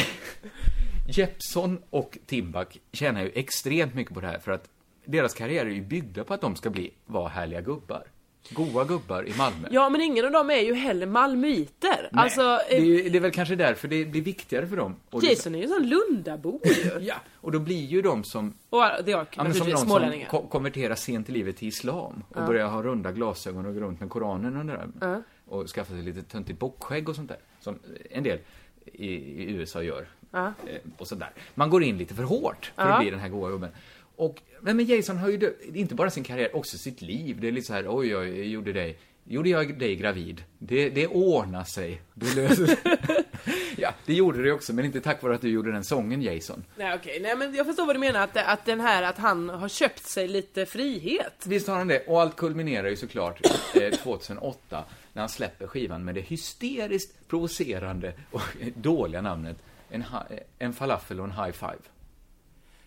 Jeppson och Timbuk tjänar ju extremt mycket på det här för att deras karriärer är ju byggda på att de ska bli, vara härliga gubbar. Goa gubbar i Malmö.
Ja men ingen av dem är ju heller malmöiter.
Nej,
Alltså,
det, är,
eh,
ju- det är väl kanske därför det blir viktigare för dem. Och det-
Jason är ju en sån
[LAUGHS]
lundabo ju.
Ja, och då blir ju de som
Och det är
Ja, men som
naturligtvis
någon som
smålänningar.
ko- konverterar sent i livet till islam och börjar ha runda glasögon och gå runt med koranen under armen. Och skaffa sig lite töntigt bockskägg och sånt där. Som en del i, i USA gör. Eh, och sådär. Man går in lite för hårt för att bli den här goa gubben. Och, nej, men Jason har ju dö- inte bara sin karriär, också sitt liv. Det är lite så här, oj, oj, jag gjorde dig, gjorde jag dig gravid? Det, det ordnar sig. Det löser sig.
[LAUGHS]
ja, det gjorde det också, men inte tack vare att du gjorde den sången, Jason.
Nej okej, nej men jag förstår vad du menar att, att den här att han har köpt sig lite frihet.
Visst har han det. Och allt kulminerar ju såklart eh, 2008 när han släpper skivan med det hysteriskt provocerande och dåliga namnet En, ha- eh, en falafel och en high five.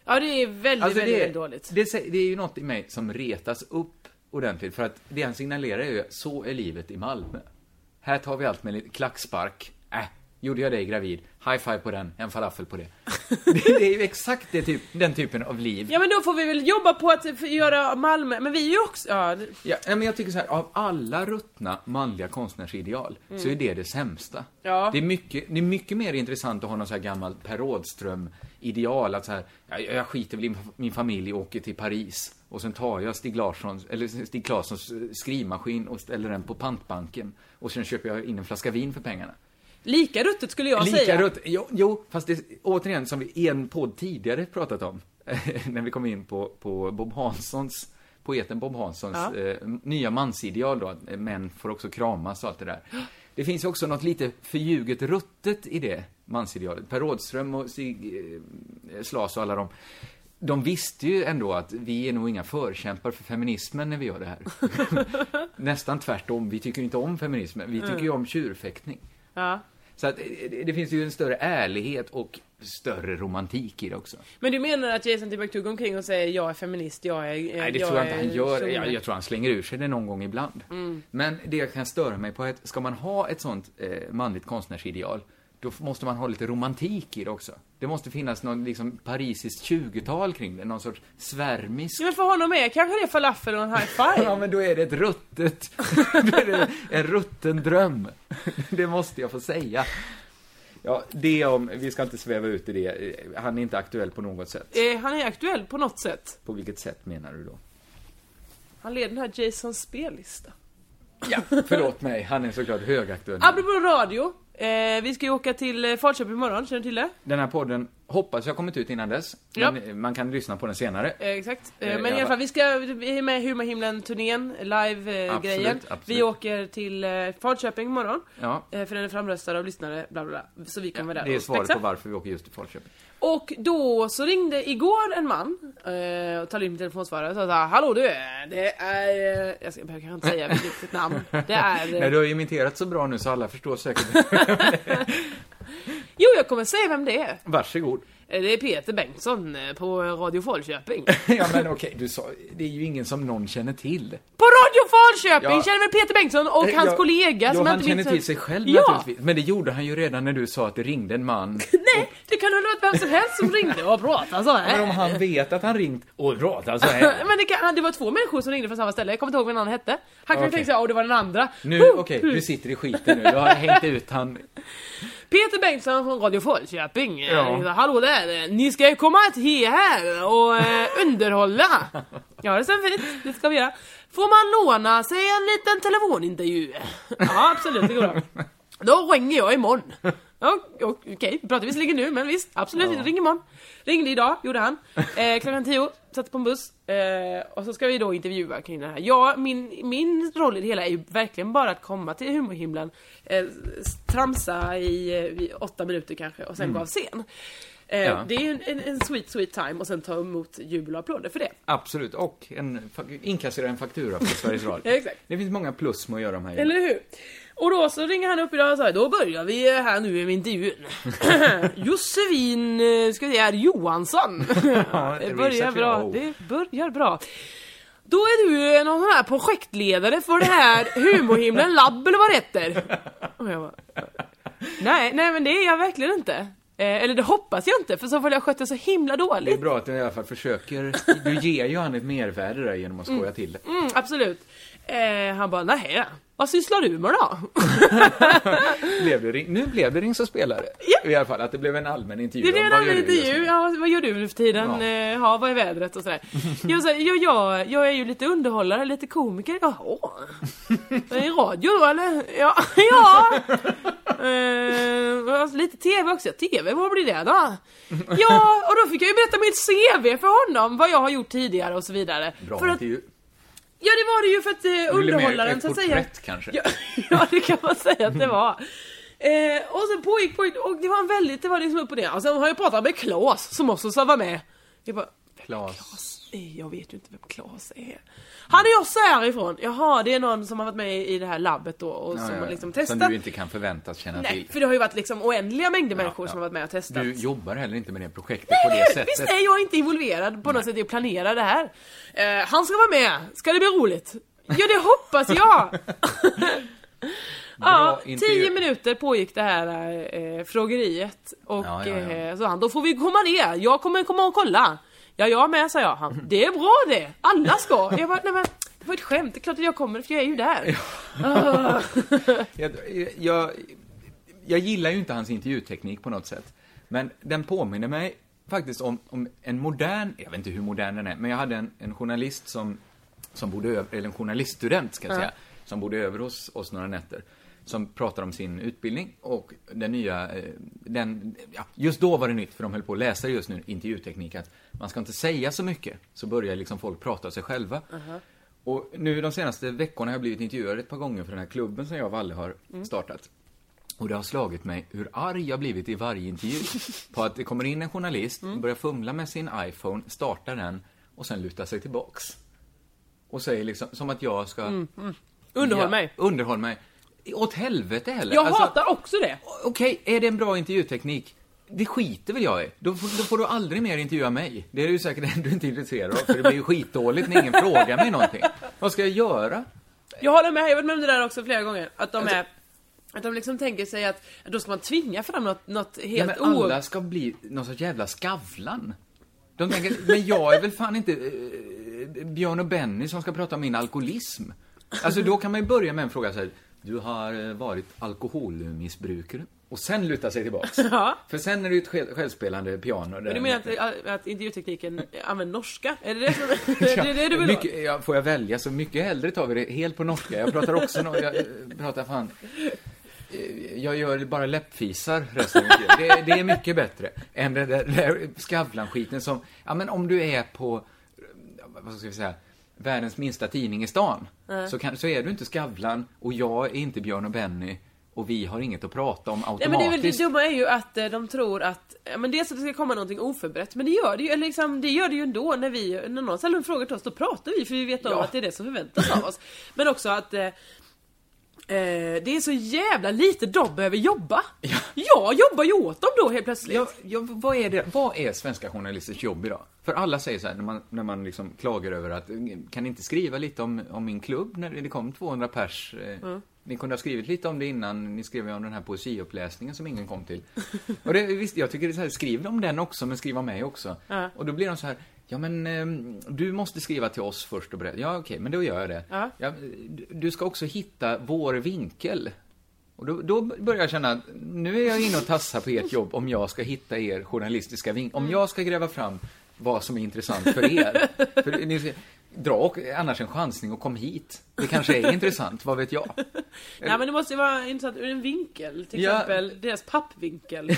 Ja det är väldigt, väldigt,
Alltså, det,
väldigt dåligt.
det, sä- det är ju något i mig som retas upp ordentligt för att det han signalerar är ju så är livet i Malmö. Här tar vi allt med lite klackspark. Äh, gjorde jag dig gravid? High five på den, en falafel på det. [LAUGHS] det, det är ju exakt det, typ, den typen av liv
Ja men då får vi väl jobba på att f- göra Malmö, men vi är ju också, ja, det-
Ja, nej, men jag tycker så här, av alla ruttna manliga konstnärsideal så är det det sämsta.
Ja.
Det, är mycket, det är mycket mer intressant att ha någon så här gammalt Per Rådström-ideal. Att så här, jag, jag skiter väl i min familj och åker till Paris. Och sen tar jag Stig, Larssons, eller Stig Claessons eh, skrivmaskin och ställer den på pantbanken. Och sen köper jag in en flaska vin för pengarna.
lika ruttet skulle jag
Lika
säga.
rutt, jo, jo, fast det, återigen som vi i en podd tidigare pratat om. [LAUGHS] när vi kom in på, på Bob Hanssons, poeten Bob Hanssons
Ja.
eh, nya mansideal då, att eh, män får också kramas och allt det där. Det finns ju också något lite förljuget ruttet i det mansidealet. Per Rådström och Stig eh, Slas och alla de. De visste ju ändå att vi är nog inga förkämpar för feminismen när vi gör det här. [LAUGHS] Nästan tvärtom, vi tycker inte om feminismen, vi tycker ju
Mm.
om tjurfäktning.
Ja.
Så att eh, det, det finns ju en större ärlighet och större romantik i det också.
Men du menar att Jason Timbuktu går omkring och säger jag är feminist, jag är... eh,
Nej, det
jag
tror jag
är Mm.
inte han gör.
tjomme."
Jag, jag tror han slänger ur sig det någon gång ibland. Men det jag kan störa mig på är att ska man ha ett sånt eh, manligt konstnärsideal, då f- måste man ha lite romantik i det också. Det måste finnas någon liksom parisiskt 20-tal kring det, någon sorts svärmisk
Ja, men för honom är kanske det är falafel och en high
[LAUGHS] Ja,
five.
men då är det ett ruttet, [LAUGHS] då är det en rutten dröm. [LAUGHS] Det måste jag få säga. Ja, det om, vi ska inte sväva ut i det. Eh, Han är inte aktuell på något sätt.
eh, han är aktuell på något sätt.
På vilket sätt menar du då?
Han leder den här Jasons spellista.
Ja, förlåt mig, han är såklart högaktuell.
Apropå radio, eh, vi ska ju åka till eh, Falköping imorgon, känner du till det?
Den här podden hoppas jag har kommit ut innan dess. Men
Ja.
man kan lyssna på den senare.
Eh, exakt. Eh,
Eh,
men i
ja,
alla
va-
fall, vi ska vi är med i Humorhimlen-turnén,
Absolut,
live-grejen. vi
absolut.
åker till eh, Falköping imorgon.
Ja.
Eh, för den är framröstad av lyssnare, bla bla bla. Så vi kan vara där
Det är
och
svaret
spexa.
på varför vi åker just till Falköping.
Och då så ringde igår en man eh, och talade in min telefonsvarare och sa såhär Hallå du, det är... eh," Jag, ska, jag behöver kanske inte
[LAUGHS]
säga vilket sitt namn. Det är...
Nej,
eh,
du har ju imiterat så bra nu så alla förstår säkert. [LAUGHS]
Jo jag kommer säga vem det är.
Varsågod. [LAUGHS]
Eh, Det är Peter Bengtsson eh, på Radio Falköping.
Ja, men okej, du sa, det är ju ingen som någon känner till.
På Radio Falköping
Ja. Eh,
känner väl Peter Bengtsson och hans
Ja,
kollega
ja,
som jag
han
inte
känner
minns-
till sig själv
ja.
naturligtvis. Men det gjorde han ju redan när du sa att det ringde en man.
[LAUGHS] Nej, det kan väl ha varit vem som helst som ringde och pratade så här.
Men
[LAUGHS]
om han vet att han ringt och pratat så här.
Men det, kan, det var två människor som ringde från samma ställe, jag kommer inte ihåg vad den andra hette. Han kanske
Okej.
tänkte såhär, åh det var den andra.
Nu,
Huh,
okej,
huh.
du sitter i skiten nu. Du har hängt ut han.
Peter Bengtsson från Radio Falköping.
Ja.
Ja. Hallå där, ni ska ju komma till här och eh, underhålla. Ja, det är fint, det ska vi göra. Får man låna sig en liten telefonintervju? Ja, absolut, det går bra. Då ringer jag imorgon. Ja, o- Okej, vi pratar visserligen nu, men visst, absolut, ring imorgon. Ringde idag, gjorde han. Eh, klockan tio, satt på en buss. Eh, och så ska vi då intervjua kring det här. Ja, min, min roll i det hela är ju verkligen bara att komma till humorhimlen, eh, s- tramsa i, eh, i åtta minuter kanske och sen gå av scen. Eh,
Ja.
Det är ju en, en, en sweet, sweet time och sen ta emot jubel och applåder för det.
Absolut, och en, fa- inkassera en faktura på Sveriges Radio.
[LAUGHS] Ja, exakt.
Det finns många plus med att göra de här
Eller hur? Och då så ringer han upp idag och sa då börjar vi här nu med intervjun. [LAUGHS] Josefin, eh, ska vi säga, Johansson.
[LAUGHS] Ja,
det
det
börjar
visar sig,
bra.
oh.
Det börjar bra. Då är du någon sån här projektledare för
[LAUGHS]
det här humorhimlen labb eller vad det heter. Och jag bara, nej, nej men det är jag verkligen inte. Eh, eller det hoppas jag inte för så fall har jag skött det så himla
Det är
dåligt.
bra att du i alla fall försöker. Du ger ju han ett mervärde där genom att skoja till det.
Mm, absolut. Eh, han bara, nej, vad sysslar du med då?
Blev det ring, nu blev det Ring så spelare. I alla fall att det blev en allmän intervju.
Det blev
om
en
vad gör
annan
du just
intervju.
nu?
Ja, vad gör du nu för tiden?
Ja.
Ja. Ja, vad är vädret
[LAUGHS]
och sådär. Jag, sa, ja, ja, jag är ju lite underhållare, lite komiker. Jaha. Är det radio då eller? Ja. [LAUGHS] ja. Eh, alltså, lite TV också. TV, vad blir det då? Ja, och då fick jag ju berätta mitt CV för honom. Vad jag har gjort tidigare och så vidare.
Bra
för att,
intervju.
ja, det var det ju för att eh,
Eller mer
underhållaren
ett
så att säga.
porträtt kanske.
Ja, [LAUGHS] ja, det kan man säga att det var. Eh, och sen pågick, pågick, och det var en väldigt, det var liksom upp och ner. Och sen har jag pratat med Claes som också sa var med. Jag bara,
Klas.
"Nej, jag vet ju inte vem Claes är. Han är också härifrån. Jaha, det är någon som har varit med i det här labbet då och som har liksom testat.
Som du inte kan förväntas känna
Nej,
till.
för det har ju varit liksom oändliga mängder människor
ja.
som har varit med och testat.
Du jobbar heller inte med det projektet på
Nej,
det
men Visst
sättet.
är jag inte involverad på något sätt i att planera det här. Eh, han ska vara med, ska det bli roligt? Ja det
[LAUGHS]
hoppas jag! ja,
Bra intervju.
tio minuter pågick det här eh, frågeriet och
Ja, ja, ja.
eh, så han, då får vi komma ner, jag kommer komma och kolla. Ja jag med sa jag, han, det är bra det, alla ska. Jag bara, nej men det var ett skämt, det är klart att jag kommer för jag är ju där. Ah.
Jag, jag, jag gillar ju inte hans intervjuteknik på något sätt. Men den påminner mig faktiskt om, om en modern, jag vet inte hur modern den är, men jag hade en, en journalist som, som bodde över, eller en journaliststudent ska jag säga, som bodde över hos oss några nätter. Som pratade om sin utbildning och den nya, eh, den, ja, just då var det nytt för de höll på att läsa just nu intervjuteknik att man ska inte säga så mycket så börjar liksom folk prata av sig själva. Och nu de senaste veckorna har jag blivit intervjuad ett par gånger för den här klubben som jag och Valle har startat. Och det har slagit mig hur arg jag blivit i varje intervju på att det kommer in en journalist,
Mm.
börjar fumla med sin iPhone, startar den och sen lutar sig tillbaks. Och säger liksom, som att jag ska...
Mm. Underhåll
Ja,
mig.
Underhåll mig. Åt helvete heller.
Jag
Alltså,
hatar också det.
Okej, är det en bra intervjuteknik? Det skiter väl jag i. Då får, då får du aldrig mer intervjua mig. Det är du säkert ändå inte intresserad av, för det blir ju skitdåligt när ingen frågar mig någonting. Vad ska jag göra?
Jag håller med, jag har varit med om det där också flera gånger. Att de
Alltså-
är... Att de liksom tänker sig att då ska man tvinga fram något, något
Ja,
helt
men
o...
alla ska bli någon sorts jävla Skavlan. De tänker, men jag är väl fan inte eh, Björn och Benny som ska prata om min alkoholism. Alltså då kan man ju börja med en fråga så här. Du har eh, varit alkoholmissbrukare. Och sen luta sig
[LAUGHS]
tillbaks.
Ja.
För sen är det ju ett själv, självspelande piano. Där
Men du menar att, att intervjutekniken använder norska? Är det det,
[LAUGHS]
som, [LAUGHS] det, är det du vill ha?
mycket, ja, Får jag välja så mycket hellre tar vi det helt på norska. Jag pratar också no jag eh, pratar fan... eh, Jag gör bara läppfisar resten av mitt liv. det, det är mycket bättre än den där, där Skavlan-skiten som... Ja, men om du är på, eh, vad ska vi säga, världens minsta tidning i stan så, kan, så är du inte Skavlan och jag är inte Björn och Benny och vi har inget att prata om
Nej
automatiskt.
men det, är väl, det dumma är ju att eh, de tror att, ja, men dels att det ska komma någonting oförberett, men det gör det ju, eller liksom, det gör det ju ändå när vi, när någon ställer en fråga till oss, då pratar vi för vi vet om
Ja.
att det är det som förväntas av oss. Men också att eh, eh, det är så jävla lite de behöver jobba. Ja. Jag jobbar ju åt dem då helt plötsligt.
Ja, ja, vad, är det, vad är svenska journalisters jobb idag? För alla säger så här, när man, när man liksom klagar över att, kan ni inte skriva lite om, om min klubb när det kom 200 pers? Eh, Ni kunde ha skrivit lite om det innan, ni skrev ju om den här poesiuppläsningen som ingen kom till. Och det, visst, jag tycker det är så här, skriv om den också, men skriv om mig också.
Ja.
Och då blir de så här, ja men ehm, du måste skriva till oss först och berätta. Ja okej, men då gör jag det.
Ja.
du- du ska också hitta vår vinkel. Och då, då börjar jag känna, nu är jag inne och tassar på ert jobb om jag ska hitta er journalistiska vinkel.
Mm.
Om jag ska gräva fram vad som är intressant för
[LAUGHS]
er. För ni, dra och, annars en chansning och kom hit. Det kanske är intressant, vad vet jag? [LAUGHS]
Nej men det måste ju vara intressant ur en vinkel, till
Ja.
exempel deras
[LAUGHS]
pappvinkel.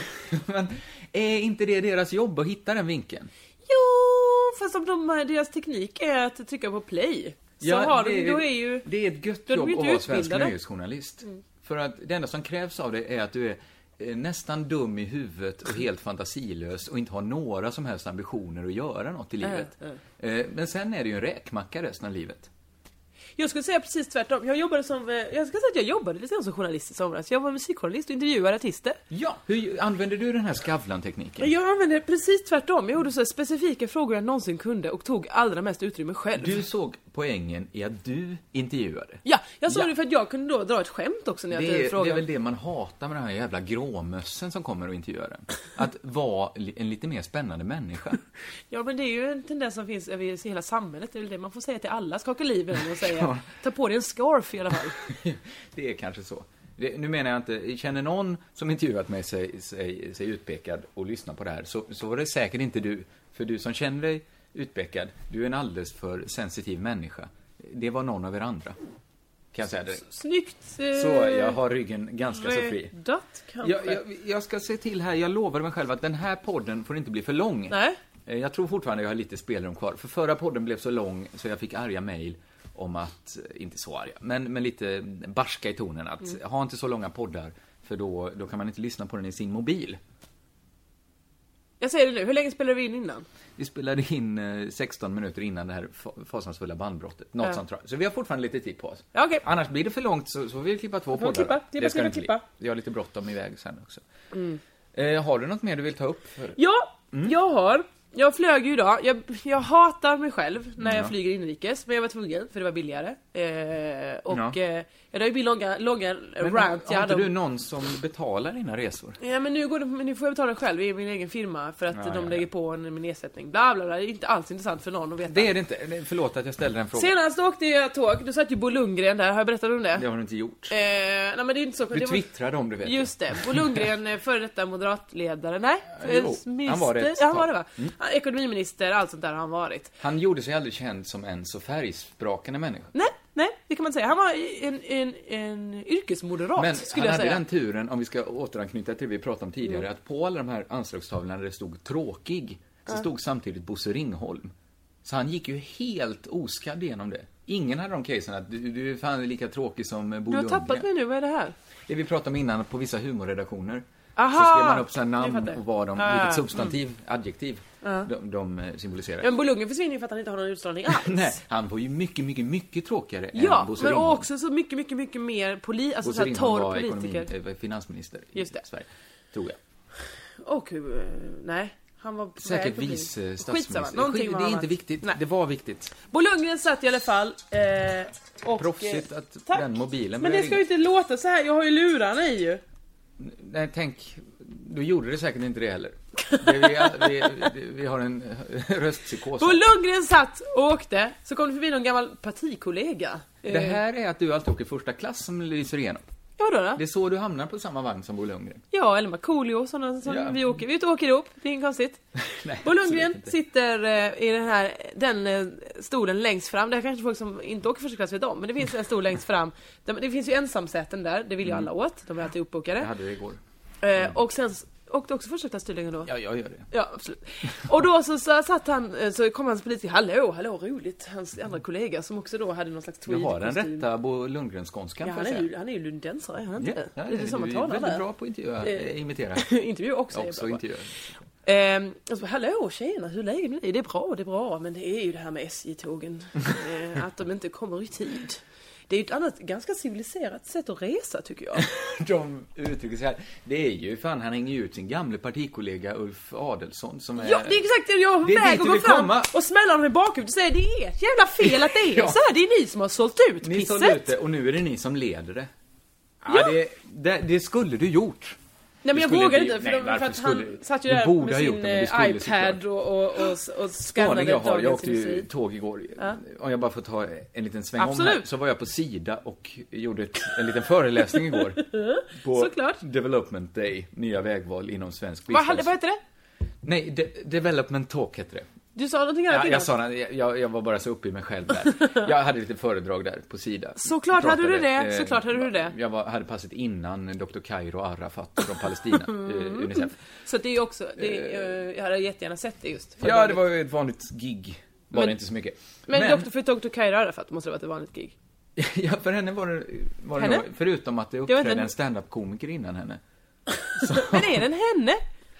Men är inte det deras jobb att hitta den vinkeln?
jo, fast om de, eh, deras teknik är att trycka på play. Så har de, då är ju...
Det är ett gött
då är
jobb
de ju
att
inte
vara svensk
utbildade. Mm.
nöjesjournalist. För att det enda som krävs av dig är att du är eh, nästan dum i huvudet och helt fantasilös och inte har några som helst ambitioner att göra något i livet. Eh, Men sen är det ju en räkmacka resten av livet.
Jag skulle säga precis tvärtom. Jag jobbade som, eh, jag ska säga att jag jobbade lite grann som journalist i somras. Jag var musikjournalist och intervjuade artister.
Ja, hur använder du den här Skavlan-tekniken?
Jag använde precis tvärtom. Jag gjorde så här specifika frågor jag någonsin kunde och tog allra mest utrymme själv.
Du såg poängen i att du intervjuade.
Ja, jag sa
Ja.
det för att jag kunde då dra ett skämt också när jag
Det
ställde
är, det är
frågan.
väl det man hatar med den här jävla gråmössen som kommer och intervjuar en. Att vara li- en lite mer spännande människa.
Ja men det är ju en tendens som finns över hela samhället, det är väl det man får säga till alla, skaka livet
[LAUGHS]
och säga ta på dig en scarf i alla fall.
det är kanske så. Det, nu menar jag inte, känner någon som intervjuat mig sig, sig, sig utpekad och lyssnar på det här, så, så var det säkert inte du. För du som känner dig utpekad, du är en alldeles för sensitiv människa. Det var någon av er andra. Kan jag säga direkt.
Snyggt! Eh,
Så jag har ryggen ganska så fri.
Räddat kanske?
Jag, jag, jag ska se till här, jag lovade mig själv att den här podden får inte bli för lång.
Nej.
Eh, Jag tror fortfarande jag har lite spelrum kvar. För förra podden blev så lång så jag fick arga mejl om att, eh, inte så arga, men, men lite barska i tonen att
Mm.
ha inte så långa poddar för då, då kan man inte lyssna på den i sin mobil.
Jag säger det nu, hur länge spelade vi in innan?
Vi spelade in eh, 16 minuter innan det här fa- fasansfulla bandbrottet. Något sånt tror jag. Så vi har fortfarande lite tid på oss.
Ja, okej.
Annars blir det för långt så, så får vi klippa två
får
poddar.
klippa, klippa,
det ska
klippa,
det inte
klippa. Mm.
bli. Jag har lite bråttom iväg sen också. Eh, har du något mer du vill ta upp? För?
Ja,
Mm.
jag har. Jag flög ju idag, jag, jag hatar mig själv när jag flyger inrikes, men jag var tvungen för det var billigare. Eh, och
Ja.
eh, det har ju blivit långa, långa
Men
rant jag
har inte
hade om-
du någon som betalar dina resor?
Ja men nu, går det, men nu får jag betala själv i min egen firma för att
Ja,
de
ja, ja.
lägger på en, min ersättning. Bla bla bla, det är inte alls intressant för någon att veta.
Det är det inte. Nej, Förlåt att jag ställde den frågan.
Senast åkte jag tåg, då satt ju Bo Lundgren där, har jag berättat om det?
Det har du inte gjort.
Eh, nej men det är inte så
Du
det var-
twittrade om det vet jag.
Just det, Bo Lundgren, eh, före detta moderatledare, nej?
Jo,
eh,
han var det ett
Ja, han var det
tag. Mm.
va? Han- Ekonomiminister, allt sånt där har han varit.
Han gjorde sig aldrig känd som en så färgsprakande människa.
Nej, nej, det kan man inte säga. Han var en, en, en yrkesmoderat,
Men
skulle
han
jag
hade
säga. Mm.
den turen, om vi ska återanknyta till det vi pratade om tidigare, att på alla de här anslagstavlorna där det stod tråkig, så stod samtidigt Bosse Ringholm. Så han gick ju helt oskadd igenom det. Ingen hade de casen att du, du är fan lika tråkig som eh, Bo
Du har tappat mig nu, vad är det här?
Det vi pratade om innan, på vissa humorredaktioner.
Aha!
Så skrev man upp sina
Nu
namn
fattar jag.
och vad de,
Ja, Mm. ja,
vilket
ja.
substantiv, adjektiv, de, de eh, symboliserar.
Men Bo Lundgren försvinner ju för att han inte har någon utstrålning alls.
[LAUGHS] Nej, han var ju mycket, mycket, mycket tråkigare än
Ja,
Bosse
men
Ringholm.
också så mycket, mycket, mycket mer poli, alltså
Bosse
såhär
Ringholm
torr
var
politiker.
ekonomi, eh, finansminister i
Just det.
Sverige, tror jag.
Och eh, nej, han var på väg
Säkert
att bli-
vice eh,
Skitsamma,
statsminister.
någonting
Skit-
var
det är
han
inte
annars.
viktigt.
Nej.
Det var viktigt.
Bo Lundgren satt i alla fall eh, och...
Proffsigt
eh,
att
tack.
den mobilen
Men
börjar
det ska ju inte låta så här. jag har ju lurarna i ju.
Nej, tänk. Du gjorde det säkert inte det heller. Det, vi, vi, [LAUGHS] vi har en röstpsykos.
Bo Lundgren satt och åkte, så kom det förbi någon gammal partikollega. Eh,
Det här är att du alltid åker första klass som lyser igenom.
Ja då, då.
Det är så du hamnar på samma vagn som Bo Lundgren. [LAUGHS]
Ja, eller Markoolio, sådana som
Ja.
vi åker. Vi är ute och åker ihop, det är inget konstigt.
Nej,
Bo
absolut
Lundgren
inte.
sitter eh, i den här den eh, stolen längst fram. Det här kanske folk som inte åker första klass vet om, men det finns en stol längst fram. Där- Det finns ju ensamsäten där, det vill ju
Mm.
alla åt. De är alltid
Jag
uppbokade.
hade det igår.
Eh, och sen s- åkte också första klass tydligen då.
Mm. Ja, jag gör det.
Ja, absolut. Och då så, så satt han, eh, så kom hans politiker, hallå, hallå, roligt. Hans andra kollega som också då hade någon slags
Du har den
tweed-kostym.
rätta Bo Lundgren-skånskan,
Ja,
får
han
jag
är,
säga.
ju, han är ju lundensare, är han inte?
ja,
det är så man
du är
talar
väldigt
där.
bra på att intervjua,
Eh,
eh, imitera.
[LAUGHS] Intervju också. är jag
Också
bra på.
intervjuer.
Ehm, och så, bara, hallå tjena, hur är läget med dig? Det är bra, det är bra, men det är ju det här med
[LAUGHS]
SJ-tågen. eh, att de inte kommer i tid. Det är ju ett annat, ganska civiliserat sätt att resa tycker jag.
De uttrycker sig här. Det är ju fan, han hänger ju ut sin gamle partikollega Ulf Adelsohn som är...
Ja, det är exakt det jag var på
Det är
väg
dit
att
du
gå
vill
fram
komma.
och smälla honom i bakhuvudet och säga det är ert jävla fel att det
[LAUGHS]
är
Ja.
så här. Det är ni som har sålt ut
Ni
pisset.
sålde ut det och nu är det ni som leder det. Ja, Det, det, det skulle du gjort.
Nej men
Du
jag
skulle
vågade
inte-
inte för,
nej,
de, för
varför
att han
skulle-
satt ju
du
där
borde
med
ha gjort
sin
det, men du
eh,
skulle
iPad och, och, och, och
Spaning
skannade
jag har, jag
dagens
åkte ju
industri.
tåg igår. Om jag bara får ta en liten sväng om här.
Absolut.
Så var jag på Sida och gjorde ett, en liten föreläsning
[LAUGHS]
igår. På
Såklart.
Development Day, nya vägval inom svensk
Vad,
bistånds...
vad hette det?
Nej, de, Development Talk heter det.
Du sa någonting annat
Ja,
innan.
jag, sa, det. jag, jag var bara så uppe i mig själv
[LAUGHS]
där. Jag hade lite föredrag där på Sida.
Såklart hade du
Pratade, eh,
det, såklart hade du det.
Jag var, hade passet innan Dr. Kairo Arafat från Palestina,
Mm.
eh, Unicef.
Så det är ju också, det är, eh, jag hade jättegärna sett det just.
Ja, det var ju ett vanligt gig. Var
Men-
det inte så mycket.
Men, Dr. för Dr. Kaira Arafat måste det varit ett
[LAUGHS]
vanligt gig.
ja, för henne var det, var det
Henne?
nog, förutom att det
var
uppträdde
inte-
en stand-up komiker innan henne.
Men är den henne?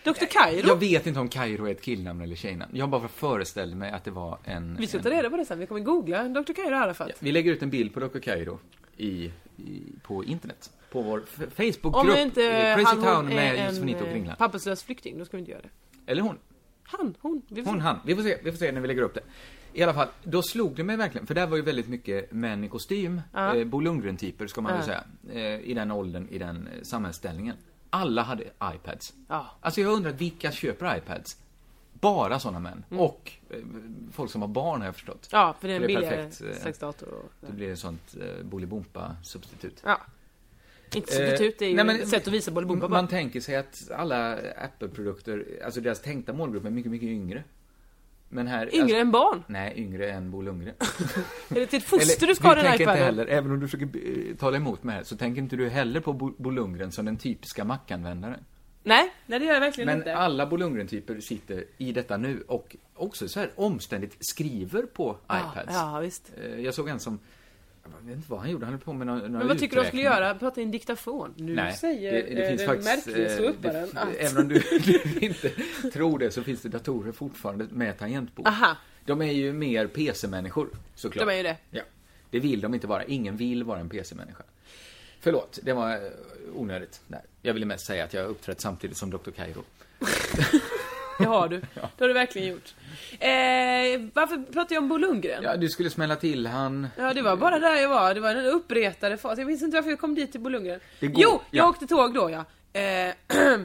Dr Kairo?
Jag vet inte om Kairo är ett killnamn eller tjejnamn. Jag bara föreställde mig att det var en...
Vi ska
en...
ta reda på det sen, vi kommer googla Dr Kairo Arafat.
Vi lägger ut en bild på Dr. Kairo i, i, på internet. På vår f- Facebookgrupp.
Om inte
eh,
han
Crazy
hon
Town
är
med Josefinito och
en eh,
Kringlan.
papperslös flykting, då ska vi inte göra det.
Eller hon.
Han, hon. Vi får
Hon,
se.
han. Vi får, se, vi får se när vi lägger upp det. I alla fall, då slog det mig verkligen, för där var ju väldigt mycket män i kostym,
Ja.
eh, Bo Lundgren-typer ska man väl säga, eh, i den åldern, i den eh, samhällsställningen. Alla hade iPads.
Ja.
Alltså jag undrar, vilka köper iPads? Bara sådana män.
Mm.
Och eh, folk som har barn har jag förstått.
Ja, för det är en
Det är
billigare
perfekt, eh,
slags dator. Och,
Det blir ett sånt eh, Bolibompa-substitut.
ja. Inte substitut, det är ju
Eh, nej, men-
ett sätt att visa Bolibompa bara.
Man tänker sig att alla Apple-produkter, alltså deras tänkta målgrupp är mycket, mycket yngre. Men här...
Yngre
alltså,
än barn?
Nej, yngre än Bo
[LAUGHS]
Lundgren.
Är det till ett foster
Eller,
du ska ha
du
den
tänker
här
inte
iPaden?
heller, även om du försöker eh, tala emot mig här, så tänker inte du heller på Bo, Bo Lundgren som den typiska Mac-användaren.
Nej, nej det gör jag verkligen
Men
inte.
alla Bo Lundgren-typer sitter i detta nu och också så här omständigt skriver på iPads.
Ah, Ja, ja, visst.
Eh, Jag såg en som, jag vet inte vad han gjorde, han höll på med några
Men vad tycker du jag skulle göra? Prata i en diktafon? Nu
Nej,
säger
det, det
eh,
finns
den
faktiskt,
märkliga
eh,
ståupparen
det-
att...
[LAUGHS] Även om du, du inte tror det så finns det datorer fortfarande med tangentbord.
Aha.
De är ju mer PC-människor, såklart.
De är ju det.
Ja. Det vill de inte vara. Ingen vill vara en PC-människa. Förlåt, det var eh, onödigt. Nej, jag ville mest säga att jag har uppträtt samtidigt som Dr. Cairo.
Det har du. Det har du verkligen gjort. Eh, varför pratar jag om Bo Lundgren? Ja.
Ja, du skulle smälla till han.
det var bara där jag var. Det var den uppretade fasen. Jag minns inte varför jag kom dit till Bo Lundgren.
Det går-
Jo, jag
ja.
åkte tåg då ja. Eh, [CLEARS THROAT]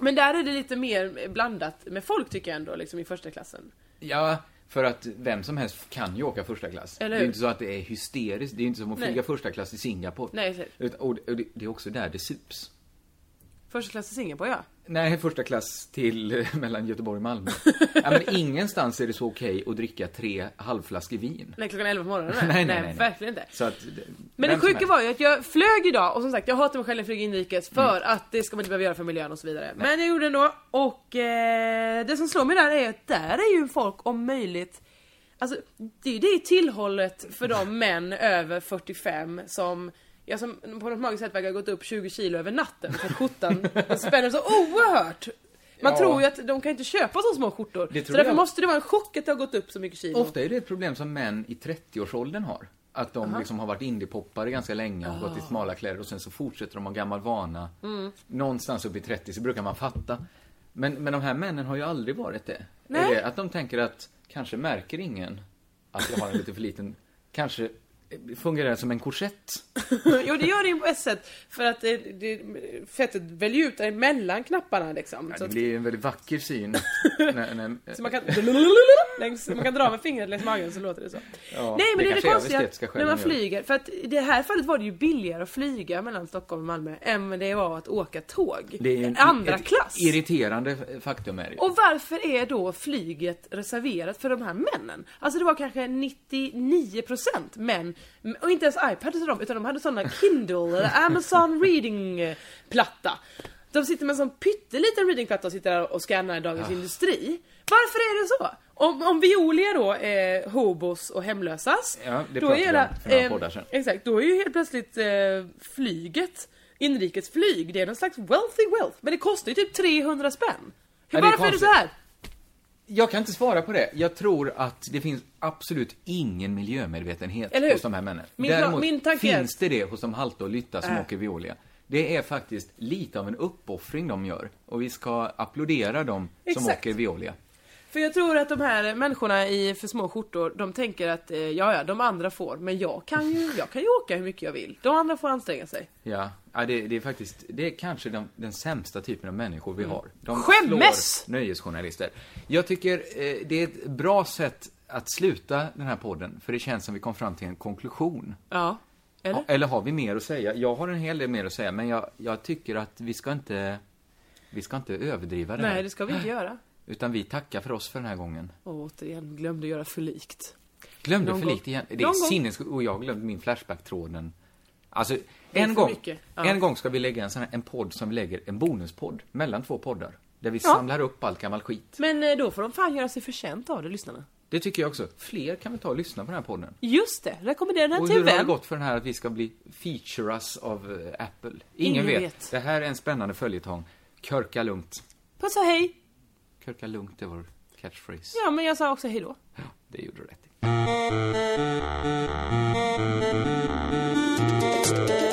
men där är det lite mer blandat med folk tycker jag ändå, liksom i första klassen.
Ja, för att vem som helst kan ju åka första klass.
Eller
det är
hur?
ju inte så att det är hysteriskt. Det är ju inte som att
Nej.
flyga första klass i Singapore.
Nej, exakt.
Utan- och det, och det- det är också där det sups.
Första klass i Singapore ja.
Nej, första klass till eh, mellan Göteborg och
[LAUGHS]
Malmö. ja, men ingenstans är det så okej att dricka tre halvflaskor vin.
Nej, klockan 11
[LAUGHS]
på morgonen.
Nej, nej, nej, nej.
Verkligen inte.
Så att, det-
Men
vem
det
som
sjuka
helst.
var ju att jag flög idag och som sagt jag hatar mig själv när jag flyger inrikes för
Mm.
att det ska man inte behöva göra för miljön och så vidare. Men jag gjorde det ändå och eh, det som slår mig där är att där är ju folk om möjligt Alltså det är ju det tillhållet
[LAUGHS]
för de män över 45 som Ja, som på något magiskt sätt verkar ha gått upp 20 kilo över natten för att
[LAUGHS]
skjortan den spänner så oerhört! Man
Ja.
tror ju att de kan inte köpa så små skjortor.
Det
Så
tror
därför
jag.
måste det vara en chock att det har gått upp så mycket kilo.
Ofta är det ett problem som män i 30-årsåldern har. Att de liksom har varit indiepoppare ganska länge och
Ah.
gått i smala kläder och sen så fortsätter de ha gammal vana.
Mm.
Någonstans upp i 30 så brukar man fatta. Men, men de här männen har ju aldrig varit det.
Nej.
Är det att de tänker att kanske märker ingen att jag har en lite för liten, kanske eh, fungerar det som en korsett.
[LAUGHS] Jo det gör det ju på ett sätt, för att det, det, fettet väljer ut där mellan knapparna liksom.
Ja,
så,
det
att,
blir ju en väldigt vacker
[LAUGHS]
syn. när, när,
så man kan, [LAUGHS] längs, man kan dra med fingret längs magen så låter det så.
Ja,
Nej
det
men det, är det
kanske är av estetiska skäl
konstiga när man
de gör det.
flyger, för att i det här fallet var det ju billigare att flyga mellan Stockholm och Malmö än det var att åka tåg.
det är ju en,
Andra
ett
klass.
irriterande faktum är det ju.
Och varför är då flyget reserverat för de här männen? Alltså det var kanske 99% män, och inte ens iPad hade de, utan de hade såna Kindle eller Amazon reading-platta. De sitter med en sån pytteliten readingplatta och sitter där och scannar
Ah.
Dagens Industri. Varför är det så? Om, om Viola då är hobos och hemlösas,
Ja, det
då
pratade
är
vi om
hela-
för några
eh,
poddar sedan.
Exakt, då är ju helt plötsligt eh, flyget, inrikesflyg, det är någon slags wealthy wealth. Men det kostar ju typ 300 spänn. Hur,
Ja, det är
varför är det
konstigt.
så här?
Jag kan inte svara på det. Jag tror att det finns absolut ingen miljömedvetenhet
Eller hur?
hos de här männen.
Min-
Däremot
min tanke är-
finns det det hos de halta och lytta som
Äh.
åker Veolia. Det är faktiskt lite av en uppoffring de gör. Och vi ska applådera dem som
Exakt.
åker Veolia.
För jag tror att de här människorna i för små skjortor, de tänker att eh, ja, ja, de andra får, men jag kan ju, jag kan ju åka hur mycket jag vill. De andra får anstränga sig.
Ja, ja det, det är faktiskt, det är kanske den, den sämsta typen av människor vi har. De
Mm. Skämmes!
slår nöjesjournalister. Jag tycker eh, det är ett bra sätt att sluta den här podden, för det känns som vi kom fram till en konklusion.
Ja. Eller?
Ja, Eller har vi mer att säga? Jag har en hel del mer att säga, men jag, jag tycker att vi ska inte, vi ska inte överdriva det
Nej,
här.
det ska vi inte göra.
Utan vi tackar för oss för den här gången.
Och återigen, glömde göra för likt.
Glömde
Någon
för
gång.
lite igen. Det
Någon
är
gång.
sinnessjukt. Och jag glömde min Flashback-tråden. Alltså,
är
en
för
gång,
mycket. Ja.
en gång ska vi lägga en sån här, en podd som vi lägger, en bonuspodd, mellan två poddar. Där vi
Ja.
samlar upp all gammal skit.
Men eh, då får de fan göra sig förtjänt av det, lyssnarna.
Det tycker jag också. Fler kan vi ta och lyssna på den här podden.
Just det, rekommendera den
Och
till
hur
en
har det
vän.
gått för den här att vi ska bli featuras av eh, Apple? Ingen,
Ingen
vet.
vet.
Det här är en spännande följetong Körka lugnt.
Puss och hej!
Körka lugnt är vår catchphrase.
Ja, men jag sa också hej då.
Ja, det gjorde du rätt i.